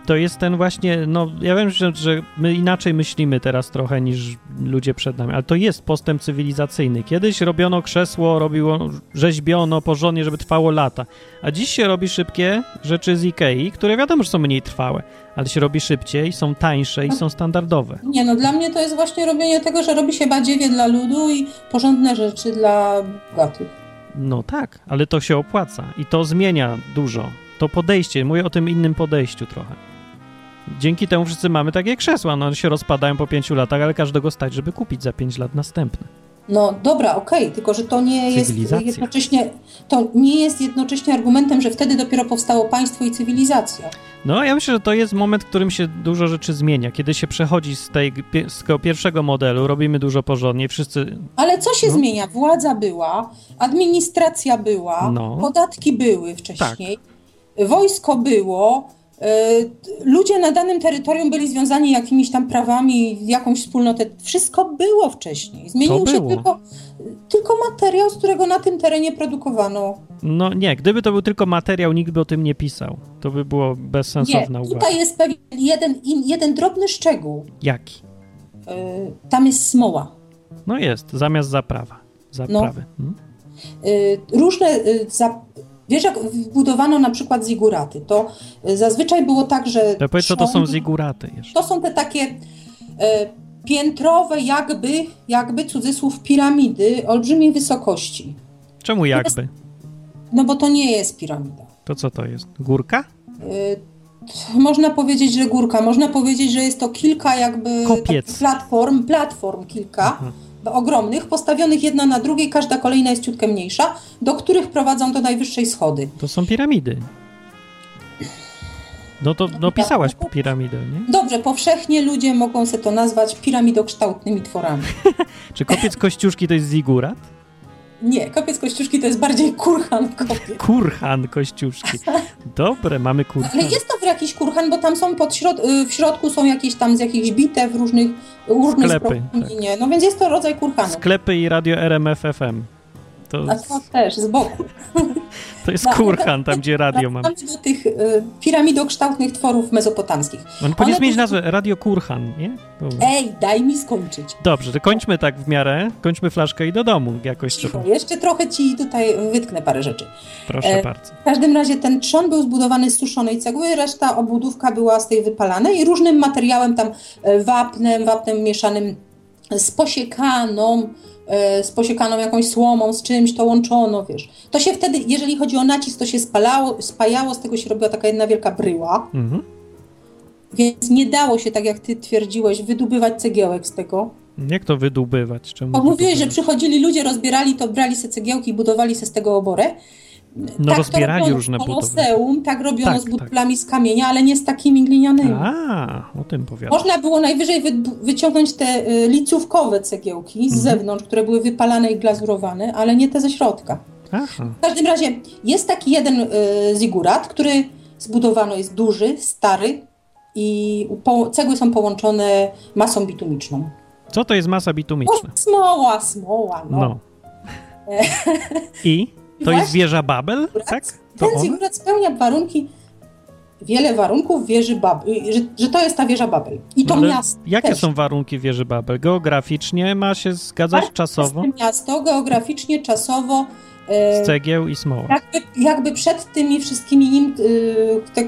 [SPEAKER 1] to jest ten właśnie, no ja wiem, że, że my inaczej myślimy teraz trochę niż ludzie przed nami, ale to jest postęp cywilizacyjny. Kiedyś robiono krzesło, robiło, rzeźbiono porządnie, żeby trwało lata, a dziś się robi szybkie rzeczy z Ikei, które wiadomo, że są mniej trwałe, ale się robi szybciej, są tańsze i są standardowe.
[SPEAKER 2] Nie, no dla mnie to jest właśnie robienie tego, że robi się badziewie dla ludu i porządne rzeczy dla bogatych.
[SPEAKER 1] No tak, ale to się opłaca i to zmienia dużo. To podejście, mówię o tym innym podejściu trochę. Dzięki temu wszyscy mamy takie krzesła, no one się rozpadają po pięciu latach, ale każdego stać, żeby kupić za pięć lat następne.
[SPEAKER 2] No dobra, okej, tylko że to nie jest
[SPEAKER 1] Cywilizacja.
[SPEAKER 2] jednocześnie to nie jest jednocześnie argumentem, że wtedy dopiero powstało państwo i cywilizacja.
[SPEAKER 1] No, ja myślę, że to jest moment, w którym się dużo rzeczy zmienia. Kiedy się przechodzi z, tej, pie- z tego pierwszego modelu, robimy dużo porządnie, wszyscy
[SPEAKER 2] Ale co się
[SPEAKER 1] No.
[SPEAKER 2] zmienia? Władza była, administracja była,
[SPEAKER 1] No. Tak.
[SPEAKER 2] podatki były wcześniej, wojsko było, y, ludzie na danym terytorium byli związani jakimiś tam prawami, jakąś wspólnotę. Wszystko było wcześniej. Zmienił
[SPEAKER 1] To
[SPEAKER 2] się
[SPEAKER 1] było.
[SPEAKER 2] tylko, tylko materiał, z którego na tym terenie produkowano.
[SPEAKER 1] No nie, gdyby to był tylko materiał, nikt by o tym nie pisał. To by było bezsensowna
[SPEAKER 2] Nie,
[SPEAKER 1] uwaga.
[SPEAKER 2] tutaj jest pewien jeden, in- jeden drobny szczegół.
[SPEAKER 1] Jaki?
[SPEAKER 2] Y, Tam jest smoła.
[SPEAKER 1] No jest, zamiast zaprawa.
[SPEAKER 2] No.
[SPEAKER 1] Zaprawy. Hmm?
[SPEAKER 2] Y, różne y, za... Wiesz, jak budowano na przykład ziguraty, to y, zazwyczaj było tak, że.
[SPEAKER 1] To powiedz, co to są
[SPEAKER 2] trzon-
[SPEAKER 1] ziguraty jeszcze.
[SPEAKER 2] To są te takie y, piętrowe, jakby, jakby cudzysłów, piramidy olbrzymiej wysokości.
[SPEAKER 1] Czemu jakby?
[SPEAKER 2] No bo to nie jest piramida.
[SPEAKER 1] To co to jest? Górka?
[SPEAKER 2] Y, t- Można powiedzieć, że górka, można powiedzieć, że jest to kilka jakby
[SPEAKER 1] Kopiec. Mhm.
[SPEAKER 2] takich platform, platform kilka ogromnych, postawionych jedna na drugiej, każda kolejna jest ciutkę mniejsza, do których prowadzą do najwyższej schody.
[SPEAKER 1] To są piramidy. No to no pisałaś piramidę, nie?
[SPEAKER 2] Dobrze, powszechnie ludzie mogą se to nazwać piramidokształtnymi tworami.
[SPEAKER 1] Czy kopiec kościuszki to jest zigurat?
[SPEAKER 2] Nie, kopiec kościuszki to jest bardziej kurhan kopiec.
[SPEAKER 1] Kurhan kościuszki. Dobre, mamy
[SPEAKER 2] Ale
[SPEAKER 1] kurhan.
[SPEAKER 2] jest to w jakiś kurhan, bo tam są pod środ- y, w środku są jakieś tam z jakichś bitew różnych różnych
[SPEAKER 1] Sklepy, tak.
[SPEAKER 2] zbrojni, No więc jest to rodzaj kurhanu.
[SPEAKER 1] Sklepy i radio RMF FM. To,
[SPEAKER 2] A No, to też z
[SPEAKER 1] [LAUGHS]
[SPEAKER 2] boku.
[SPEAKER 1] to jest
[SPEAKER 2] na-
[SPEAKER 1] kurhan, tam gdzie radio mam.
[SPEAKER 2] Wracamy do tych y, piramidokształtnych tworów mezopotamskich.
[SPEAKER 1] On powinien
[SPEAKER 2] One
[SPEAKER 1] zmienić
[SPEAKER 2] to-
[SPEAKER 1] No,
[SPEAKER 2] E-
[SPEAKER 1] nazwę Radio Kurhan, nie? Dobra.
[SPEAKER 2] Ej, daj mi skończyć.
[SPEAKER 1] Dobrze, to kończmy tak w miarę, kończmy flaszkę i do domu jakoś
[SPEAKER 2] Cicho,
[SPEAKER 1] trzeba.
[SPEAKER 2] jeszcze trochę ci tutaj wytknę parę rzeczy.
[SPEAKER 1] Proszę
[SPEAKER 2] E,
[SPEAKER 1] bardzo.
[SPEAKER 2] W każdym razie ten trzon był zbudowany z suszonej cegły, reszta obudówka była z tej wypalanej i różnym materiałem tam e, wapnem, wapnem mieszanym e, z posiekaną, e, z posiekaną jakąś słomą, z czymś to łączono, wiesz. To się wtedy, jeżeli chodzi o nacisk, to się spalało, spajało, z tego się robiła taka jedna wielka bryła,
[SPEAKER 1] Mhm.
[SPEAKER 2] więc nie dało się, tak jak ty twierdziłeś, wydobywać cegiełek z tego.
[SPEAKER 1] Jak to wydubywać? Czemu
[SPEAKER 2] Bo mówiłeś, że
[SPEAKER 1] wydubywać?
[SPEAKER 2] przychodzili ludzie, rozbierali to, brali se cegiełki i budowali se z tego oborę.
[SPEAKER 1] No,
[SPEAKER 2] Tak to
[SPEAKER 1] rozbierali
[SPEAKER 2] robiono
[SPEAKER 1] różne
[SPEAKER 2] w
[SPEAKER 1] budowle.
[SPEAKER 2] Koloseum, tak robiono
[SPEAKER 1] Tak,
[SPEAKER 2] z
[SPEAKER 1] tak.
[SPEAKER 2] budowlami z kamienia, ale nie z takimi glinianymi.
[SPEAKER 1] A, o tym powiadam.
[SPEAKER 2] Można było najwyżej wy, wyciągnąć te y, licówkowe cegiełki z
[SPEAKER 1] Mhm.
[SPEAKER 2] zewnątrz, które były wypalane i glazurowane, ale nie te ze środka.
[SPEAKER 1] Aha.
[SPEAKER 2] W każdym razie jest taki jeden y, zigurat, który zbudowano jest duży, stary i po, cegły są połączone masą bitumiczną.
[SPEAKER 1] Co to jest masa bitumiczna?
[SPEAKER 2] O, smoła, smoła, no.
[SPEAKER 1] No.
[SPEAKER 2] [LAUGHS]
[SPEAKER 1] I? To jest
[SPEAKER 2] Właśnie-
[SPEAKER 1] wieża Babel? Tak? To
[SPEAKER 2] Ten
[SPEAKER 1] on?
[SPEAKER 2] zigurat spełnia warunki, wiele warunków wieży Babel, że, że to jest ta wieża Babel. I to
[SPEAKER 1] No Ale
[SPEAKER 2] miasto
[SPEAKER 1] Jakie
[SPEAKER 2] też.
[SPEAKER 1] są warunki wieży Babel? Geograficznie ma się zgadzać
[SPEAKER 2] Bardzo
[SPEAKER 1] czasowo?
[SPEAKER 2] Jest to miasto geograficznie, czasowo, e,
[SPEAKER 1] Z cegieł i smoła.
[SPEAKER 2] jakby, jakby przed tymi wszystkimi nim y, te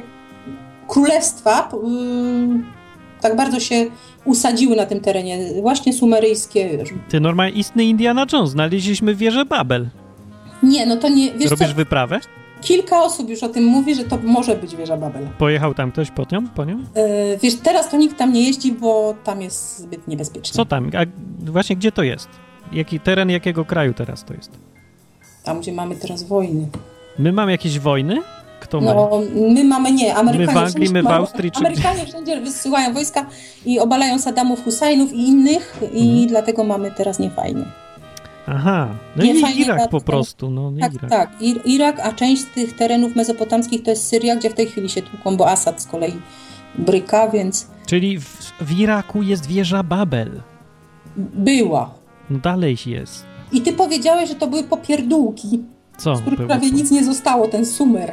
[SPEAKER 2] królestwa y, tak bardzo się usadziły na tym terenie. Właśnie sumeryjskie. Wiesz.
[SPEAKER 1] Ty normalnie istny Indiana Jones, znaleźliśmy wieżę Babel.
[SPEAKER 2] Nie, no to nie, wiesz
[SPEAKER 1] Robisz
[SPEAKER 2] co,
[SPEAKER 1] wyprawę?
[SPEAKER 2] kilka osób już o tym mówi, że to może być wieża Babel.
[SPEAKER 1] Pojechał tam ktoś po nią? Po nią?
[SPEAKER 2] E, wiesz, teraz to nikt tam nie jeździ, bo tam jest zbyt niebezpiecznie.
[SPEAKER 1] Co tam? A właśnie gdzie to jest? Jaki teren jakiego kraju teraz to jest?
[SPEAKER 2] Tam, gdzie mamy teraz wojny.
[SPEAKER 1] My mamy jakieś wojny? Kto ma?
[SPEAKER 2] No, my mamy nie. Amerykanie
[SPEAKER 1] My w Anglii, my
[SPEAKER 2] wszędzie-
[SPEAKER 1] w Austrii, czy
[SPEAKER 2] Amerykanie wszędzie wysyłają wojska i obalają Saddamów, Husajnów i innych i
[SPEAKER 1] Mhm.
[SPEAKER 2] dlatego mamy teraz niefajnie.
[SPEAKER 1] Aha, no
[SPEAKER 2] Nie,
[SPEAKER 1] i
[SPEAKER 2] fajnie,
[SPEAKER 1] Irak po
[SPEAKER 2] dlatego-
[SPEAKER 1] prostu, no nie
[SPEAKER 2] Tak,
[SPEAKER 1] Irak.
[SPEAKER 2] tak. Ir- Irak, a część z tych terenów mezopotamskich to jest Syria, gdzie w tej chwili się tłuką, bo Asad z kolei bryka, więc
[SPEAKER 1] Czyli w, w Iraku jest wieża Babel.
[SPEAKER 2] była.
[SPEAKER 1] No dalej jest.
[SPEAKER 2] I ty powiedziałeś, że to były popierdółki,
[SPEAKER 1] Co?
[SPEAKER 2] z których
[SPEAKER 1] było?
[SPEAKER 2] prawie nic nie zostało, ten sumer.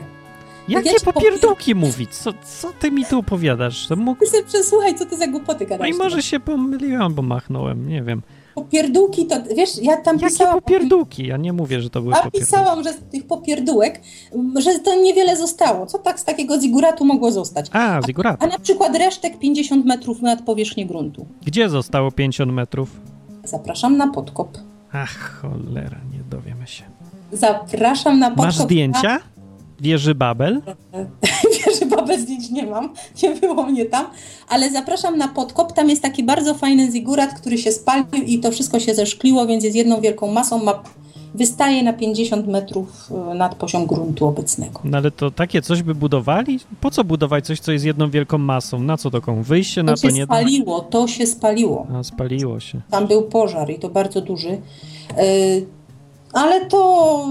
[SPEAKER 1] Jakie
[SPEAKER 2] Ja ci
[SPEAKER 1] popierdółki mówić? Co, co ty mi tu opowiadasz? To mógł...
[SPEAKER 2] Ty sobie przesłuchaj, co ty za głupoty
[SPEAKER 1] No i
[SPEAKER 2] gadasz.
[SPEAKER 1] może się pomyliłem albo machnąłem, nie wiem.
[SPEAKER 2] Popierdółki to, wiesz, ja tam
[SPEAKER 1] Jakie
[SPEAKER 2] pisałam...
[SPEAKER 1] popierdółki? Ja nie mówię, że to były
[SPEAKER 2] A
[SPEAKER 1] popierdółki.
[SPEAKER 2] pisałam, że z tych popierdółek, m, że to niewiele zostało. Co tak z takiego ziguratu mogło zostać?
[SPEAKER 1] A, zigurat.
[SPEAKER 2] A na przykład resztek 50 metrów nad powierzchnię gruntu.
[SPEAKER 1] Gdzie zostało 50 metrów?
[SPEAKER 2] Zapraszam na podkop.
[SPEAKER 1] Ach, cholera, nie dowiemy się.
[SPEAKER 2] Zapraszam na podkop.
[SPEAKER 1] Masz
[SPEAKER 2] [LAUGHS]
[SPEAKER 1] zdjęcia? Wieży Babel?
[SPEAKER 2] Wierzę, babę zdjęć nie mam, nie było mnie tam, ale zapraszam na podkop. Tam jest taki bardzo fajny zigurat, który się spalił i to wszystko się zeszkliło, więc jest jedną wielką masą. Ma, wystaje na 50 metrów y, nad poziom gruntu obecnego.
[SPEAKER 1] No ale to takie coś by budowali? Po co budować coś, co jest jedną wielką masą? Na co taką? Wyjście na
[SPEAKER 2] To
[SPEAKER 1] to
[SPEAKER 2] się
[SPEAKER 1] nie...
[SPEAKER 2] spaliło, to się spaliło.
[SPEAKER 1] A, spaliło się.
[SPEAKER 2] Tam był pożar i to bardzo duży. Y, Ale to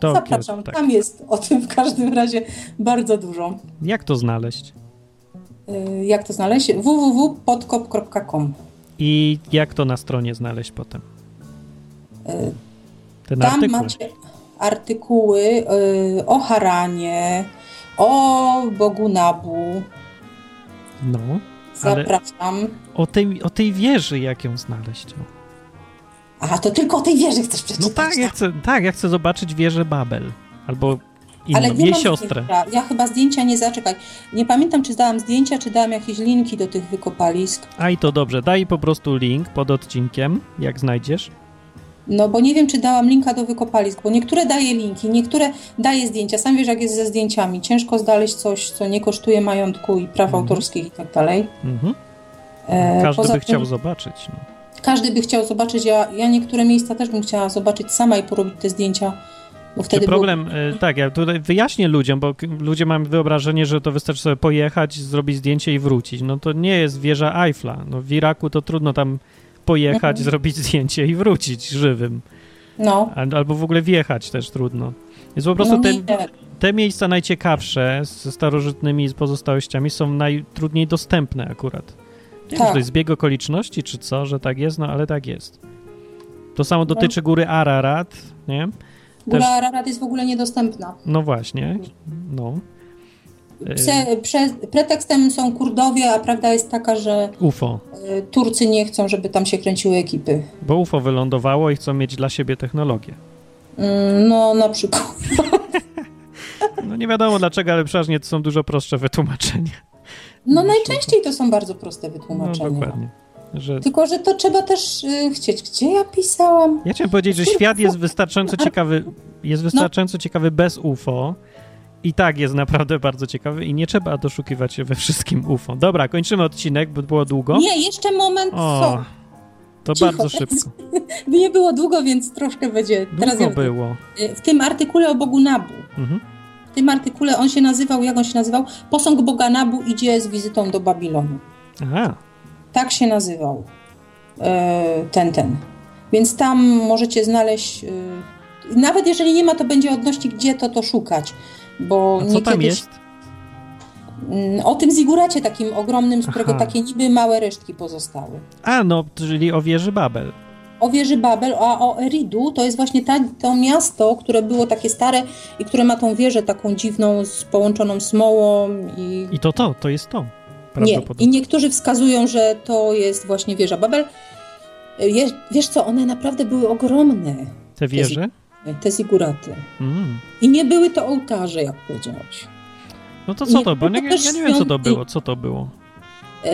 [SPEAKER 1] To
[SPEAKER 2] zapraszam,
[SPEAKER 1] tak.
[SPEAKER 2] tam jest o tym w każdym razie bardzo dużo.
[SPEAKER 1] Jak to znaleźć?
[SPEAKER 2] Y, Jak to znaleźć? www.podkop.com
[SPEAKER 1] I jak to na stronie znaleźć potem?
[SPEAKER 2] Y,
[SPEAKER 1] Ten
[SPEAKER 2] Tam
[SPEAKER 1] artykuł.
[SPEAKER 2] macie artykuły y, o Haranie, o Bogu Nabu.
[SPEAKER 1] No. Ale-
[SPEAKER 2] Zapraszam.
[SPEAKER 1] O tej, o tej wieży, jak ją znaleźć. No,
[SPEAKER 2] Aha, to tylko o tej wieży chcesz przeczytać.
[SPEAKER 1] no tak, ja chcę, tak, ja chcę zobaczyć wieżę Babel. Albo inną,
[SPEAKER 2] Ale nie
[SPEAKER 1] jej
[SPEAKER 2] mam
[SPEAKER 1] siostrę.
[SPEAKER 2] zdjęcia. Ja chyba zdjęcia nie zaczekaj. Nie pamiętam, czy dałam zdjęcia, czy dałam jakieś linki do tych wykopalisk.
[SPEAKER 1] A i to dobrze, daj po prostu link pod odcinkiem, jak znajdziesz.
[SPEAKER 2] No bo nie wiem, czy dałam linka do wykopalisk, bo niektóre daje linki, niektóre daje zdjęcia. Sam wiesz, jak jest ze zdjęciami. Ciężko znaleźć coś, co nie kosztuje majątku i praw
[SPEAKER 1] Mhm.
[SPEAKER 2] autorskich i tak dalej.
[SPEAKER 1] Mhm.
[SPEAKER 2] E,
[SPEAKER 1] Każdy
[SPEAKER 2] poza
[SPEAKER 1] by
[SPEAKER 2] tym-
[SPEAKER 1] chciał zobaczyć. No.
[SPEAKER 2] Każdy by chciał zobaczyć, ja, ja niektóre miejsca też bym chciała zobaczyć sama i porobić te zdjęcia, bo
[SPEAKER 1] Czy
[SPEAKER 2] wtedy
[SPEAKER 1] problem, y, tak, ja tutaj wyjaśnię ludziom, bo k- ludzie mają wyobrażenie, że to wystarczy sobie pojechać, zrobić zdjęcie i wrócić. No to nie jest wieża Eiffla. No, w Iraku to trudno tam pojechać,
[SPEAKER 2] Mhm.
[SPEAKER 1] zrobić zdjęcie i wrócić żywym.
[SPEAKER 2] Był, no,
[SPEAKER 1] Al- Albo w ogóle wjechać też trudno. Więc po prostu
[SPEAKER 2] no
[SPEAKER 1] te,
[SPEAKER 2] nie,
[SPEAKER 1] te miejsca najciekawsze ze starożytnymi pozostałościami są najtrudniej dostępne akurat. Nie wiem,
[SPEAKER 2] Tak.
[SPEAKER 1] czy to jest zbieg okoliczności, czy co, że tak jest, no ale tak jest. To
[SPEAKER 2] No.
[SPEAKER 1] samo dotyczy góry Ararat, nie?
[SPEAKER 2] Góra Ararat jest w ogóle niedostępna.
[SPEAKER 1] No właśnie, no. E,
[SPEAKER 2] Prze, prze, pretekstem są Kurdowie, a prawda jest taka, że
[SPEAKER 1] UFO,
[SPEAKER 2] e, Turcy nie chcą, żeby tam się kręciły ekipy.
[SPEAKER 1] bo UFO wylądowało i chcą mieć dla siebie technologię.
[SPEAKER 2] Mm, No na przykład.
[SPEAKER 1] No nie wiadomo dlaczego, ale przeważnie to są dużo prostsze wytłumaczenia.
[SPEAKER 2] No najczęściej to są bardzo proste
[SPEAKER 1] No
[SPEAKER 2] wytłumaczenia.
[SPEAKER 1] dokładnie. Że
[SPEAKER 2] Tylko, że to trzeba też y, chcieć. Gdzie ja pisałam?
[SPEAKER 1] Ja chciałem powiedzieć, że świat jest wystarczająco ciekawy,
[SPEAKER 2] No.
[SPEAKER 1] jest wystarczająco ciekawy bez UFO. I tak jest naprawdę bardzo ciekawy i nie trzeba doszukiwać się we wszystkim UFO. Dobra, kończymy odcinek, bo było długo.
[SPEAKER 2] Nie, jeszcze moment.
[SPEAKER 1] O,
[SPEAKER 2] Co?
[SPEAKER 1] to
[SPEAKER 2] Cicho,
[SPEAKER 1] bardzo
[SPEAKER 2] teraz
[SPEAKER 1] szybko.
[SPEAKER 2] Nie było długo, więc troszkę będzie. Teraz
[SPEAKER 1] Długo
[SPEAKER 2] ja-
[SPEAKER 1] było.
[SPEAKER 2] Y, w tym artykule o Bogu Nabu.
[SPEAKER 1] Mhm.
[SPEAKER 2] W tym artykule on się nazywał, jak on się nazywał? Posąg Boga Nabu idzie z wizytą do Babilonu.
[SPEAKER 1] Aha,
[SPEAKER 2] Tak się nazywał e, ten, ten. Więc tam możecie znaleźć, e, nawet jeżeli nie ma, to będzie odnośnik, gdzie to to szukać. Bo
[SPEAKER 1] a co tam
[SPEAKER 2] niekiedy-
[SPEAKER 1] jest?
[SPEAKER 2] Mm, O tym ziguracie takim ogromnym, z którego
[SPEAKER 1] Aha.
[SPEAKER 2] takie niby małe resztki pozostały.
[SPEAKER 1] A, no, czyli o wieży Babel.
[SPEAKER 2] O wieży Babel, a o Eridu to jest właśnie ta, to miasto, które było takie stare i które ma tą wieżę taką dziwną, z połączoną smołą i
[SPEAKER 1] I to to, to jest to.
[SPEAKER 2] Nie. I
[SPEAKER 1] Prawdopodobnie.
[SPEAKER 2] niektórzy wskazują, że to jest właśnie wieża Babel. Je, wiesz co, one naprawdę były ogromne,
[SPEAKER 1] Te wieże?
[SPEAKER 2] te ziguraty.
[SPEAKER 1] Mm.
[SPEAKER 2] I nie były to ołtarze, jak powiedziałeś.
[SPEAKER 1] No to co
[SPEAKER 2] Nie,
[SPEAKER 1] to było?
[SPEAKER 2] to
[SPEAKER 1] Nie, ja
[SPEAKER 2] też
[SPEAKER 1] nie wiem, co to
[SPEAKER 2] świątyń.
[SPEAKER 1] było. Co to było?
[SPEAKER 2] E,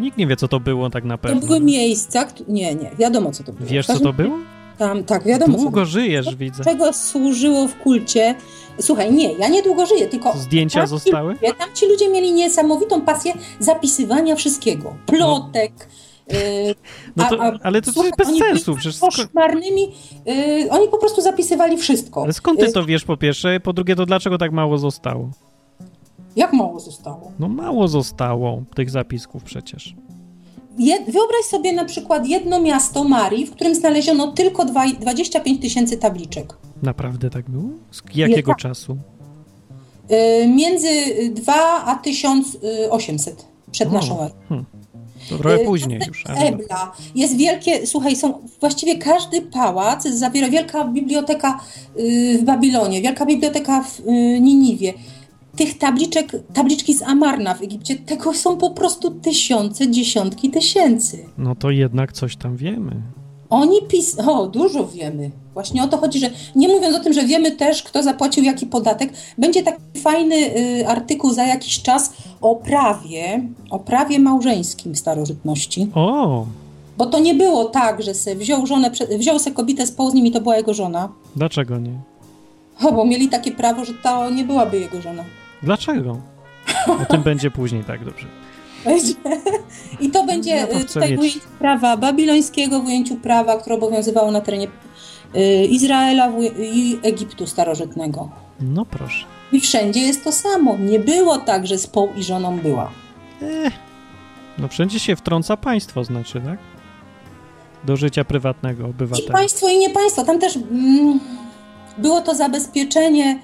[SPEAKER 1] Nikt nie wie, co to było tak na
[SPEAKER 2] to
[SPEAKER 1] pewno.
[SPEAKER 2] były miejsca, kt- nie, nie, wiadomo co to było.
[SPEAKER 1] Wiesz, co to było?
[SPEAKER 2] Tam, tak, wiadomo co to
[SPEAKER 1] Długo żyjesz, widzę.
[SPEAKER 2] było. Czego służyło w kulcie. Słuchaj, nie, ja niedługo żyję, tylko
[SPEAKER 1] Zdjęcia
[SPEAKER 2] Tak.
[SPEAKER 1] zostały?
[SPEAKER 2] Ja tam ci ludzie mieli niesamowitą pasję zapisywania wszystkiego. Plotek. y,
[SPEAKER 1] No to,
[SPEAKER 2] a- a-
[SPEAKER 1] ale to, to
[SPEAKER 2] słuchaj,
[SPEAKER 1] jest bez
[SPEAKER 2] oni byli
[SPEAKER 1] sensu. Przecież sko-
[SPEAKER 2] koszmarnymi. y, oni po prostu zapisywali wszystko.
[SPEAKER 1] ale skąd ty
[SPEAKER 2] Y,
[SPEAKER 1] to wiesz po pierwsze? Po drugie, to dlaczego tak mało zostało?
[SPEAKER 2] Jak mało zostało?
[SPEAKER 1] No mało zostało tych zapisków przecież.
[SPEAKER 2] Je, wyobraź sobie na przykład jedno miasto Marii, w którym znaleziono tylko dwa, 25 tysięcy tabliczek.
[SPEAKER 1] Naprawdę tak było? Z jakiego
[SPEAKER 2] tak.
[SPEAKER 1] czasu?
[SPEAKER 2] Y, między 2 a 1800 przed
[SPEAKER 1] O,
[SPEAKER 2] naszą erą.
[SPEAKER 1] Hmm. To trochę
[SPEAKER 2] Y,
[SPEAKER 1] później już. Ale...
[SPEAKER 2] Ebla. Jest wielkie, słuchaj, są właściwie każdy pałac zawiera wielka biblioteka y, w Babilonie, wielka biblioteka w y, Niniwie. Tych tabliczek, tabliczki z Amarna w Egipcie, tego są po prostu tysiące, dziesiątki tysięcy.
[SPEAKER 1] No to jednak coś tam wiemy.
[SPEAKER 2] Oni pis... O, dużo wiemy. Właśnie o to chodzi, że nie mówiąc o tym, że wiemy też, kto zapłacił jaki podatek, będzie taki fajny y, artykuł za jakiś czas o prawie, o prawie małżeńskim starożytności.
[SPEAKER 1] O,
[SPEAKER 2] Bo to nie było tak, że se wziął żonę, prze- wziął se kobietę, spał z nim i to była jego żona.
[SPEAKER 1] dlaczego nie?
[SPEAKER 2] O, bo mieli takie prawo, że to nie byłaby jego żona. [LAUGHS]
[SPEAKER 1] Dlaczego? O tym będzie później, tak dobrze.
[SPEAKER 2] Będzie. I to będzie
[SPEAKER 1] Ja No, to
[SPEAKER 2] y,
[SPEAKER 1] chcę
[SPEAKER 2] tutaj w
[SPEAKER 1] mieć.
[SPEAKER 2] ujęciu prawa babilońskiego, w ujęciu prawa, które obowiązywało na terenie y, Izraela w uj- i Egiptu starożytnego.
[SPEAKER 1] No proszę.
[SPEAKER 2] I wszędzie jest to samo. Nie było tak, że z poł i żoną była.
[SPEAKER 1] Eh. No wszędzie się wtrąca państwo, znaczy, tak? Do życia prywatnego
[SPEAKER 2] I
[SPEAKER 1] obywatela.
[SPEAKER 2] państwo, i nie państwo. Tam też mm, było to zabezpieczenie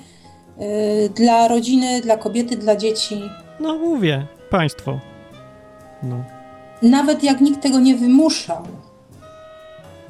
[SPEAKER 2] y, dla rodziny, dla kobiety, dla dzieci.
[SPEAKER 1] No mówię, państwo. No.
[SPEAKER 2] Nawet jak nikt tego nie wymuszał.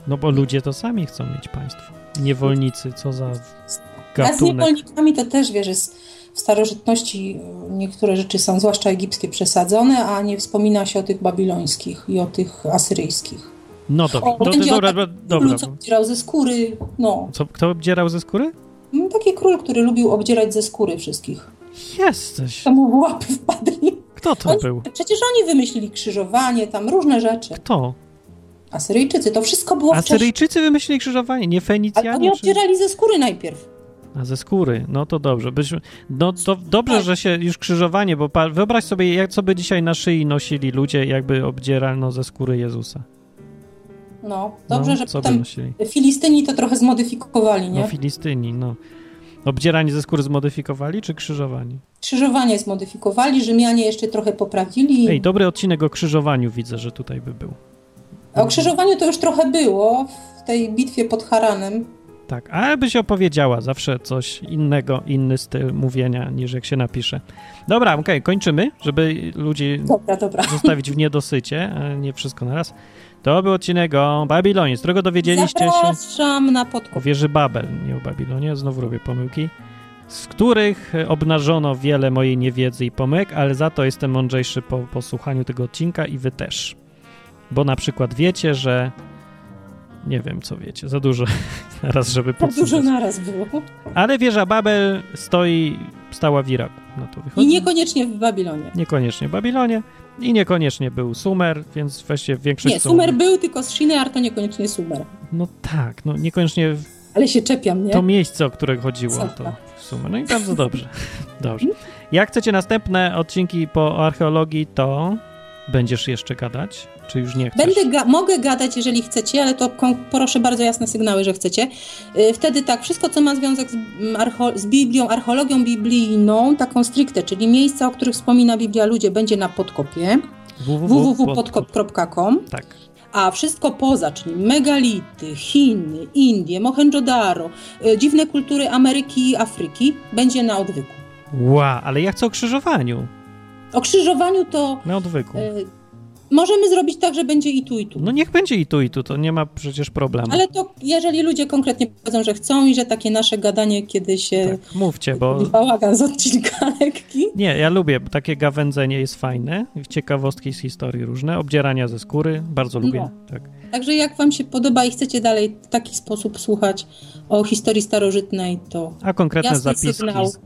[SPEAKER 1] no bo ludzie to sami chcą mieć państwo. Niewolnicy, co za
[SPEAKER 2] A z
[SPEAKER 1] gatunek.
[SPEAKER 2] niewolnikami to też wiesz, jest w starożytności y, niektóre rzeczy są, zwłaszcza egipskie, przesadzone, a nie wspomina się o tych babilońskich i o tych asyryjskich.
[SPEAKER 1] No dobra,
[SPEAKER 2] O,
[SPEAKER 1] do,
[SPEAKER 2] będzie
[SPEAKER 1] dobra,
[SPEAKER 2] o
[SPEAKER 1] dobra,
[SPEAKER 2] Król,
[SPEAKER 1] dobra. no.
[SPEAKER 2] co obdzierał ze skóry, no.
[SPEAKER 1] Co, kto obdzierał ze skóry?
[SPEAKER 2] No, Taki król, który lubił obdzierać ze skóry wszystkich.
[SPEAKER 1] Jesteś.
[SPEAKER 2] To mu w łapy wpadli.
[SPEAKER 1] Kto to
[SPEAKER 2] Oni-
[SPEAKER 1] był?
[SPEAKER 2] Przecież oni wymyślili krzyżowanie, tam różne rzeczy.
[SPEAKER 1] Kto?
[SPEAKER 2] Asyryjczycy, to wszystko było wcześniej.
[SPEAKER 1] Asyryjczycy wymyślili krzyżowanie, nie
[SPEAKER 2] Ale
[SPEAKER 1] Fenicjanie?
[SPEAKER 2] oni
[SPEAKER 1] Czy...
[SPEAKER 2] obdzierali ze skóry najpierw.
[SPEAKER 1] A ze skóry, no to dobrze. Byśmy... No to dobrze, że się już krzyżowanie, bo pa... wyobraź sobie, jak co by dzisiaj na szyi nosili ludzie, jakby obdzierano ze skóry Jezusa.
[SPEAKER 2] No, dobrze,
[SPEAKER 1] no,
[SPEAKER 2] że
[SPEAKER 1] co by
[SPEAKER 2] potem
[SPEAKER 1] nosili?
[SPEAKER 2] Filistyni to trochę zmodyfikowali, nie?
[SPEAKER 1] No Filistyni, no. Obdzieranie ze skóry zmodyfikowali, czy krzyżowani?
[SPEAKER 2] Krzyżowanie zmodyfikowali, Rzymianie jeszcze trochę poprawili.
[SPEAKER 1] Ej, dobry odcinek o krzyżowaniu widzę, że tutaj by był.
[SPEAKER 2] o krzyżowaniu to już trochę było w tej bitwie pod Haranem.
[SPEAKER 1] Tak, ale byś opowiedziała zawsze coś innego, inny styl mówienia, niż jak się napisze. Dobra, okej, kończymy, żeby ludzi
[SPEAKER 2] Dobra, dobra.
[SPEAKER 1] zostawić w niedosycie, a nie wszystko naraz. To był odcinek o Babilonie, z którego dowiedzieliście się
[SPEAKER 2] Zapraszam na
[SPEAKER 1] o
[SPEAKER 2] podkop.
[SPEAKER 1] wieży Babel, nie o Babilonie, znowu robię pomyłki, z których e, obnażono wiele mojej niewiedzy i pomyłek, ale za to jestem mądrzejszy po posłuchaniu tego odcinka i wy też. Bo na przykład wiecie, że... Nie wiem, co wiecie, za dużo [LAUGHS] naraz, żeby
[SPEAKER 2] Tak dużo
[SPEAKER 1] podsumować.
[SPEAKER 2] naraz było.
[SPEAKER 1] Ale wieża Babel stoi, stała w Iraku, na to wychodzi.
[SPEAKER 2] I niekoniecznie w Babilonie.
[SPEAKER 1] Niekoniecznie w Babilonie i niekoniecznie był Sumer, więc właściwie większość...
[SPEAKER 2] Nie,
[SPEAKER 1] są-
[SPEAKER 2] Sumer był, tylko z Shinear to niekoniecznie Sumer.
[SPEAKER 1] No tak, no niekoniecznie w
[SPEAKER 2] Ale się czepiam, nie?
[SPEAKER 1] to miejsce, o które chodziło,
[SPEAKER 2] Co? Mhm.
[SPEAKER 1] to w sumie. No i bardzo dobrze. [LAUGHS] Dobrze. Jak chcecie następne odcinki po archeologii, to będziesz jeszcze gadać? Czy już nie chcesz?
[SPEAKER 2] Będę ga- mogę gadać, jeżeli chcecie, ale to kon- proszę bardzo jasne sygnały, że chcecie. Y, Wtedy tak, wszystko, co ma związek z, mm, archo- z Biblią, archeologią biblijną, taką stricte, czyli miejsca, o których wspomina Biblia ludzie, będzie na podkopie
[SPEAKER 1] www.podkop-
[SPEAKER 2] www.podkop.com,
[SPEAKER 1] Tak.
[SPEAKER 2] a wszystko poza, czyli megality, Chiny, Indie, Mohenjo-Daro, y, dziwne kultury Ameryki i Afryki, będzie na odwyku.
[SPEAKER 1] Ła, ale ja chcę o krzyżowaniu.
[SPEAKER 2] O krzyżowaniu to
[SPEAKER 1] Na odwyku.
[SPEAKER 2] y, możemy zrobić tak, że będzie i tu, i tu.
[SPEAKER 1] No niech będzie i tu, i tu, to nie ma przecież problemu.
[SPEAKER 2] Ale to jeżeli ludzie konkretnie powiedzą, że chcą i że takie nasze gadanie, kiedy się
[SPEAKER 1] Tak, mówcie,
[SPEAKER 2] E,
[SPEAKER 1] bo...
[SPEAKER 2] bałagan z odcinka [LAUGHS] lekki,
[SPEAKER 1] Nie, ja lubię, bo takie gawędzenie jest fajne. Ciekawostki z historii różne, obdzierania ze skóry, bardzo lubię.
[SPEAKER 2] No.
[SPEAKER 1] Tak.
[SPEAKER 2] także jak wam się podoba i chcecie dalej w taki sposób słuchać o historii starożytnej, to
[SPEAKER 1] a konkretne
[SPEAKER 2] Jasny
[SPEAKER 1] zapiski
[SPEAKER 2] sygnał.
[SPEAKER 1] z-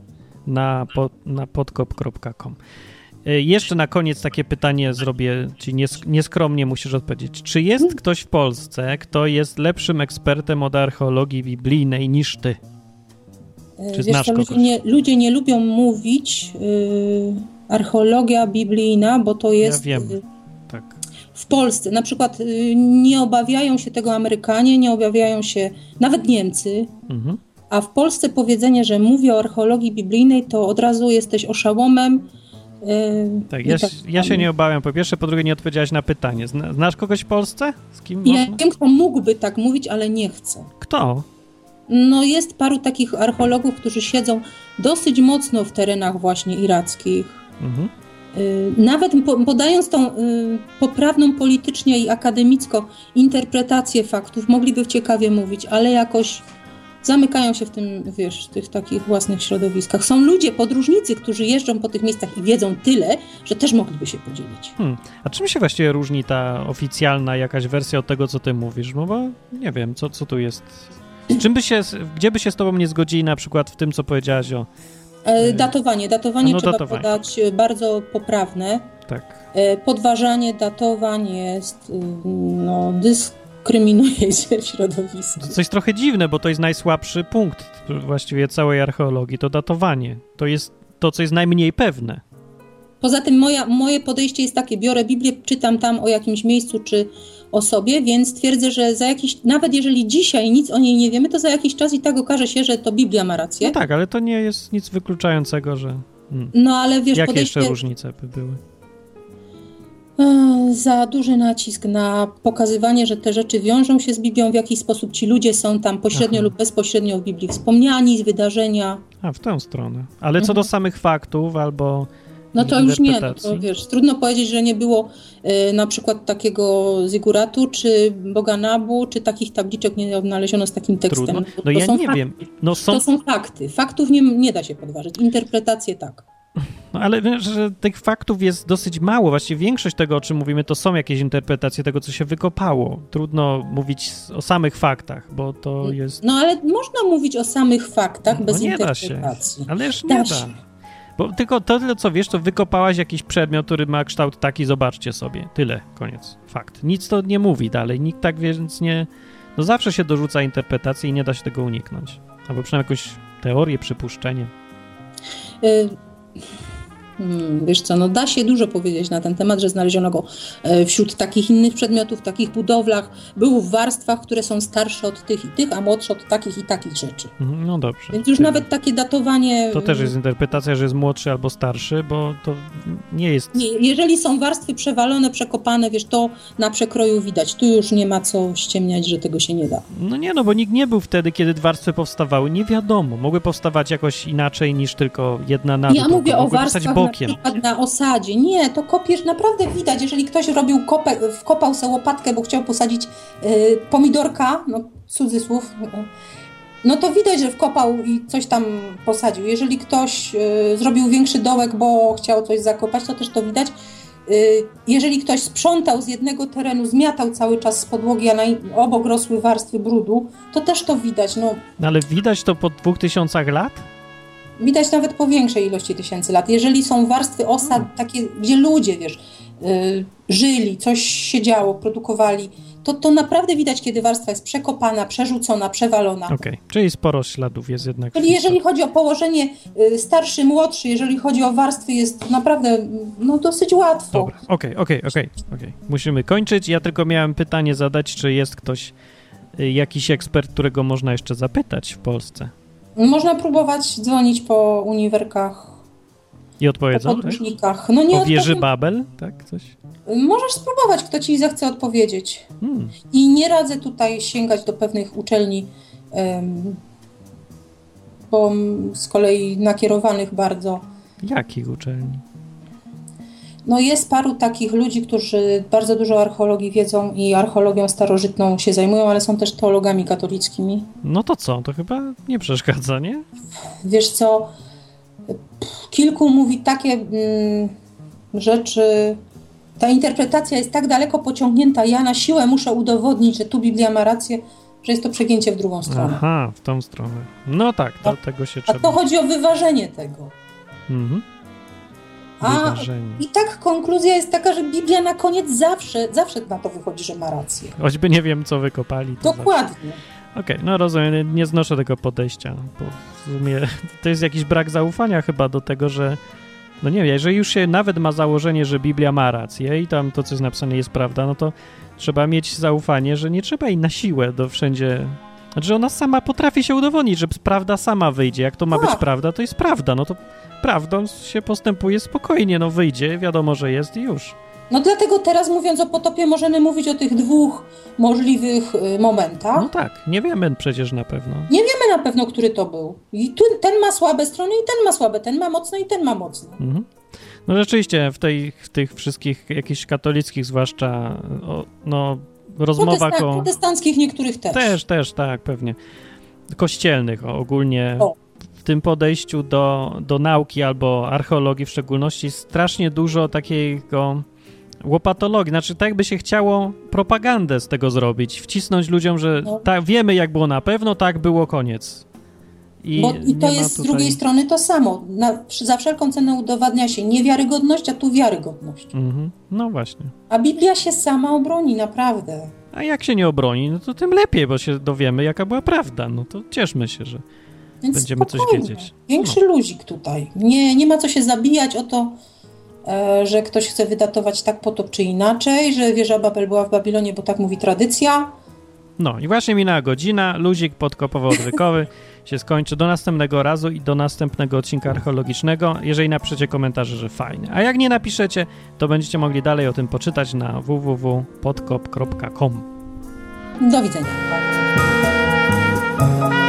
[SPEAKER 1] na, po, na podkop.com. Y, Jeszcze na koniec takie pytanie zrobię, ci nies- nieskromnie musisz odpowiedzieć. Czy
[SPEAKER 2] Mhm.
[SPEAKER 1] jest ktoś w Polsce, kto jest lepszym ekspertem od archeologii biblijnej niż ty?
[SPEAKER 2] e,
[SPEAKER 1] Czy
[SPEAKER 2] wiesz
[SPEAKER 1] znasz
[SPEAKER 2] co, ludzie
[SPEAKER 1] kogoś?
[SPEAKER 2] nie, ludzie nie lubią mówić y, archeologia biblijna, bo to jest
[SPEAKER 1] wiem.
[SPEAKER 2] y,
[SPEAKER 1] Tak.
[SPEAKER 2] w Polsce. Na przykład y, nie obawiają się tego Amerykanie, nie obawiają się nawet Niemcy,
[SPEAKER 1] Mhm.
[SPEAKER 2] A w Polsce powiedzenie, że mówię o archeologii biblijnej, to od razu jesteś oszałomem. Yy,
[SPEAKER 1] tak
[SPEAKER 2] i
[SPEAKER 1] ja, się- ja się nie obawiam. Po pierwsze, po drugie, nie odpowiedziałaś na pytanie. Zna, znasz kogoś w Polsce? Z kim
[SPEAKER 2] Ja
[SPEAKER 1] można?
[SPEAKER 2] wiem, kto mógłby tak mówić, ale nie chce.
[SPEAKER 1] Kto?
[SPEAKER 2] No jest paru takich archeologów, którzy siedzą dosyć mocno w terenach właśnie irackich.
[SPEAKER 1] Mhm.
[SPEAKER 2] Yy, Nawet po, podając tą yy, poprawną politycznie i akademicko interpretację faktów, mogliby ciekawie mówić, ale jakoś zamykają się w tym, wiesz, tych takich własnych środowiskach. Są ludzie, podróżnicy, którzy jeżdżą po tych miejscach i wiedzą tyle, że też mogliby się podzielić. E,
[SPEAKER 1] Hmm. A czym się właściwie różni ta oficjalna jakaś wersja od tego, co ty mówisz? No bo nie wiem, co, co tu jest. Z czym by się, gdzie by się z tobą nie zgodzili na przykład w tym, co powiedziałaś o...
[SPEAKER 2] E, Datowanie. Datowanie
[SPEAKER 1] Mhm.
[SPEAKER 3] no,
[SPEAKER 1] No,
[SPEAKER 2] trzeba
[SPEAKER 1] datowanie.
[SPEAKER 2] podać e, bardzo poprawne.
[SPEAKER 1] Tak.
[SPEAKER 2] E, Podważanie datowań jest, y, no, dyskryminuje się w środowisku.
[SPEAKER 1] To coś trochę dziwne, bo to jest najsłabszy punkt właściwie całej archeologii, to datowanie. To jest to, co jest najmniej pewne.
[SPEAKER 2] Poza tym moja, moje podejście jest takie, biorę Biblię, czytam tam o jakimś miejscu czy o sobie, więc twierdzę, że za jakiś, nawet jeżeli dzisiaj nic o niej nie wiemy, to za jakiś czas i tak okaże się, że to Biblia ma rację.
[SPEAKER 1] No tak, ale to nie jest nic wykluczającego, że... Hmm.
[SPEAKER 2] No ale wiesz,
[SPEAKER 1] Jakie jeszcze
[SPEAKER 2] podejście,
[SPEAKER 1] różnice by były?
[SPEAKER 2] E, za duży nacisk na pokazywanie, że te rzeczy wiążą się z Biblią, w jakiś sposób ci ludzie są tam pośrednio
[SPEAKER 1] Aha.
[SPEAKER 2] lub bezpośrednio w Biblii wspomniani, wydarzenia.
[SPEAKER 1] A, w tę stronę. Ale co
[SPEAKER 2] Mhm.
[SPEAKER 1] do samych faktów albo
[SPEAKER 2] No to już nie, no to
[SPEAKER 1] interpretacji.
[SPEAKER 2] wiesz, trudno powiedzieć, że nie było e, na przykład takiego Ziguratu, czy Boganabu, czy takich tabliczek nie odnaleziono z takim tekstem.
[SPEAKER 1] trudno...
[SPEAKER 2] To-
[SPEAKER 1] No
[SPEAKER 2] to
[SPEAKER 1] ja
[SPEAKER 2] są
[SPEAKER 1] nie
[SPEAKER 2] fak-
[SPEAKER 1] wiem. No są
[SPEAKER 2] To są fakty. Faktów nie, nie da się podważyć. Interpretacje tak.
[SPEAKER 1] No ale wiesz, że tych faktów jest dosyć mało. Właściwie większość tego, o czym mówimy, to są jakieś interpretacje tego, co się wykopało. Trudno mówić s- o samych faktach, bo to jest.
[SPEAKER 2] No ale można mówić o samych faktach
[SPEAKER 1] No
[SPEAKER 2] bez
[SPEAKER 1] nie da się.
[SPEAKER 2] interpretacji.
[SPEAKER 1] Ależ nie
[SPEAKER 2] Da
[SPEAKER 1] da.
[SPEAKER 2] się.
[SPEAKER 1] Bo tylko to tyle, co wiesz, to wykopałaś jakiś przedmiot, który ma kształt taki, zobaczcie sobie. Tyle, koniec. Fakt. Nic to nie mówi dalej. Nikt tak więc nie. No zawsze się dorzuca interpretacje i nie da się tego uniknąć. Albo przynajmniej jakąś teorię, przypuszczenie.
[SPEAKER 2] Y, Hmm, wiesz co, no da się dużo powiedzieć na ten temat, że znaleziono go e, wśród takich innych przedmiotów, takich budowlach, był w warstwach, które są starsze od tych i tych, a młodsze od takich i takich rzeczy.
[SPEAKER 1] Mhm, No dobrze.
[SPEAKER 2] Więc już
[SPEAKER 1] Tyle.
[SPEAKER 2] nawet takie datowanie.
[SPEAKER 1] To też
[SPEAKER 2] y,
[SPEAKER 1] jest interpretacja, że jest młodszy albo starszy, bo to nie jest.
[SPEAKER 2] mm, Nie, jeżeli są warstwy przewalone, przekopane, wiesz, to na przekroju widać. Tu już nie ma co ściemniać, że tego się nie da.
[SPEAKER 1] No nie, no bo nikt nie był wtedy, kiedy warstwy powstawały. Nie wiadomo, mogły powstawać jakoś inaczej niż tylko jedna na
[SPEAKER 2] ja
[SPEAKER 1] drugą.
[SPEAKER 2] mówię o
[SPEAKER 1] mogły powstać
[SPEAKER 2] warstwach
[SPEAKER 1] bokiem.
[SPEAKER 2] na przykład na osadzie. Nie, to kopiesz naprawdę widać, jeżeli ktoś robił kopę, wkopał sobie łopatkę, bo chciał posadzić y, pomidorka, no cudzysłów, y, no to widać, że wkopał i coś tam posadził. Jeżeli ktoś y, zrobił większy dołek, bo chciał coś zakopać, to też to widać. Y, Jeżeli ktoś sprzątał z jednego terenu, zmiatał cały czas z podłogi, a na in- obok rosły warstwy brudu, to też to widać. No,
[SPEAKER 1] No ale widać to po dwóch tysiącach lat?
[SPEAKER 2] Tak. Widać nawet po większej ilości tysięcy lat. Jeżeli są warstwy
[SPEAKER 1] Hmm.
[SPEAKER 2] osad, takie, gdzie ludzie, wiesz, y, żyli, coś się działo, produkowali, to, to naprawdę widać, kiedy warstwa jest przekopana, przerzucona, przewalona.
[SPEAKER 1] Okej, czyli sporo śladów jest jednak.
[SPEAKER 2] Czyli jeżeli chodzi o położenie y, starszy, młodszy, jeżeli chodzi o warstwy, jest naprawdę mm, no, dosyć łatwo.
[SPEAKER 1] Dobra, okej, okej, okej, okej. Musimy kończyć. Ja tylko miałem pytanie zadać, czy jest ktoś, y, jakiś ekspert, którego można jeszcze zapytać w Polsce.
[SPEAKER 2] Można próbować dzwonić po uniwerkach,
[SPEAKER 1] I
[SPEAKER 2] po
[SPEAKER 1] odpowiedzą? Tak?
[SPEAKER 2] podróżnikach. No nie
[SPEAKER 1] O wieży
[SPEAKER 2] odpowiem-
[SPEAKER 1] Babel? Tak, coś?
[SPEAKER 2] Możesz spróbować, kto ci zechce odpowiedzieć.
[SPEAKER 1] Hmm.
[SPEAKER 2] I nie radzę tutaj sięgać do pewnych uczelni, em, bo m- z kolei nakierowanych bardzo.
[SPEAKER 1] Jakich uczelni?
[SPEAKER 2] No jest paru takich ludzi, którzy bardzo dużo o archeologii wiedzą i archeologią starożytną się zajmują, ale są też teologami katolickimi.
[SPEAKER 1] No to co? To chyba nie przeszkadza, nie?
[SPEAKER 2] Wiesz co, pff, kilku mówi takie mm, rzeczy. Ta interpretacja jest tak daleko pociągnięta, ja na siłę muszę udowodnić, że tu Biblia ma rację, że jest to przegięcie w drugą stronę.
[SPEAKER 1] Aha, w tą stronę. No tak, to,
[SPEAKER 2] A-
[SPEAKER 1] tego się
[SPEAKER 2] A to
[SPEAKER 1] No, trzeba.
[SPEAKER 2] chodzi o wyważenie tego.
[SPEAKER 1] Mhm.
[SPEAKER 2] A
[SPEAKER 1] Wydarzenie.
[SPEAKER 2] i tak konkluzja jest taka, że Biblia na koniec zawsze, zawsze na to wychodzi, że ma rację.
[SPEAKER 1] Choćby nie wiem, co wykopali. to
[SPEAKER 2] Dokładnie.
[SPEAKER 1] zawsze- Okej, no rozumiem, nie- nie znoszę tego podejścia, no bo w sumie to jest jakiś brak zaufania chyba do tego, że no nie wiem, jeżeli już się nawet ma założenie, że Biblia ma rację i tam to, co jest napisane jest prawda, no to trzeba mieć zaufanie, że nie trzeba jej na siłę do wszędzie... Znaczy, że ona sama potrafi się udowodnić, że prawda sama wyjdzie. Jak to ma być
[SPEAKER 2] Tak.
[SPEAKER 1] prawda, to jest prawda. No to prawdą się postępuje spokojnie. No wyjdzie, wiadomo, że jest i już.
[SPEAKER 2] No dlatego teraz mówiąc o potopie możemy mówić o tych dwóch możliwych y, momentach.
[SPEAKER 1] No tak, nie wiemy przecież na pewno.
[SPEAKER 2] Wiemy na pewno, który to był. I tu, ten ma słabe strony i ten ma słabe, ten ma mocne i ten ma mocne.
[SPEAKER 1] Mhm. No rzeczywiście, w, tej, w tych wszystkich jakichś katolickich zwłaszcza o, no, rozmowach
[SPEAKER 2] Protestan-
[SPEAKER 1] o...
[SPEAKER 2] protestanckich niektórych tak, też.
[SPEAKER 1] Też, też, tak, pewnie. kościelnych o, ogólnie
[SPEAKER 2] O.
[SPEAKER 1] w tym podejściu do, do nauki albo archeologii w szczególności strasznie dużo takiego łopatologii, znaczy tak by się chciało propagandę z tego zrobić, wcisnąć ludziom, że
[SPEAKER 2] No.
[SPEAKER 1] tak, wiemy jak było na pewno, tak było, koniec. I,
[SPEAKER 2] Bo, I
[SPEAKER 1] nie
[SPEAKER 2] to
[SPEAKER 1] ma
[SPEAKER 2] jest z
[SPEAKER 1] tutaj-
[SPEAKER 2] drugiej strony to samo. Na, przy, za wszelką cenę udowadnia się niewiarygodność, a tu wiarygodność.
[SPEAKER 1] Mhm. No właśnie.
[SPEAKER 2] A Biblia się sama obroni, naprawdę.
[SPEAKER 1] A jak się nie obroni, no to tym lepiej, bo się dowiemy, jaka była prawda. No to cieszmy się, że.
[SPEAKER 2] Więc
[SPEAKER 1] Będziemy coś
[SPEAKER 2] spokojnie.
[SPEAKER 1] wiedzieć. No.
[SPEAKER 2] Większy luzik tutaj. Nie, nie ma co się zabijać o to, e, że ktoś chce wydatować tak po to czy inaczej, że wieża Babel była w Babilonie, bo tak mówi tradycja.
[SPEAKER 1] No i właśnie minęła godzina, luzik podkopowo-odwykowy się skończy. Do następnego razu i do następnego odcinka archeologicznego, jeżeli napiszecie komentarze, że fajnie. A jak nie napiszecie, to będziecie mogli dalej o tym poczytać na www.podkop.com.
[SPEAKER 2] Do widzenia.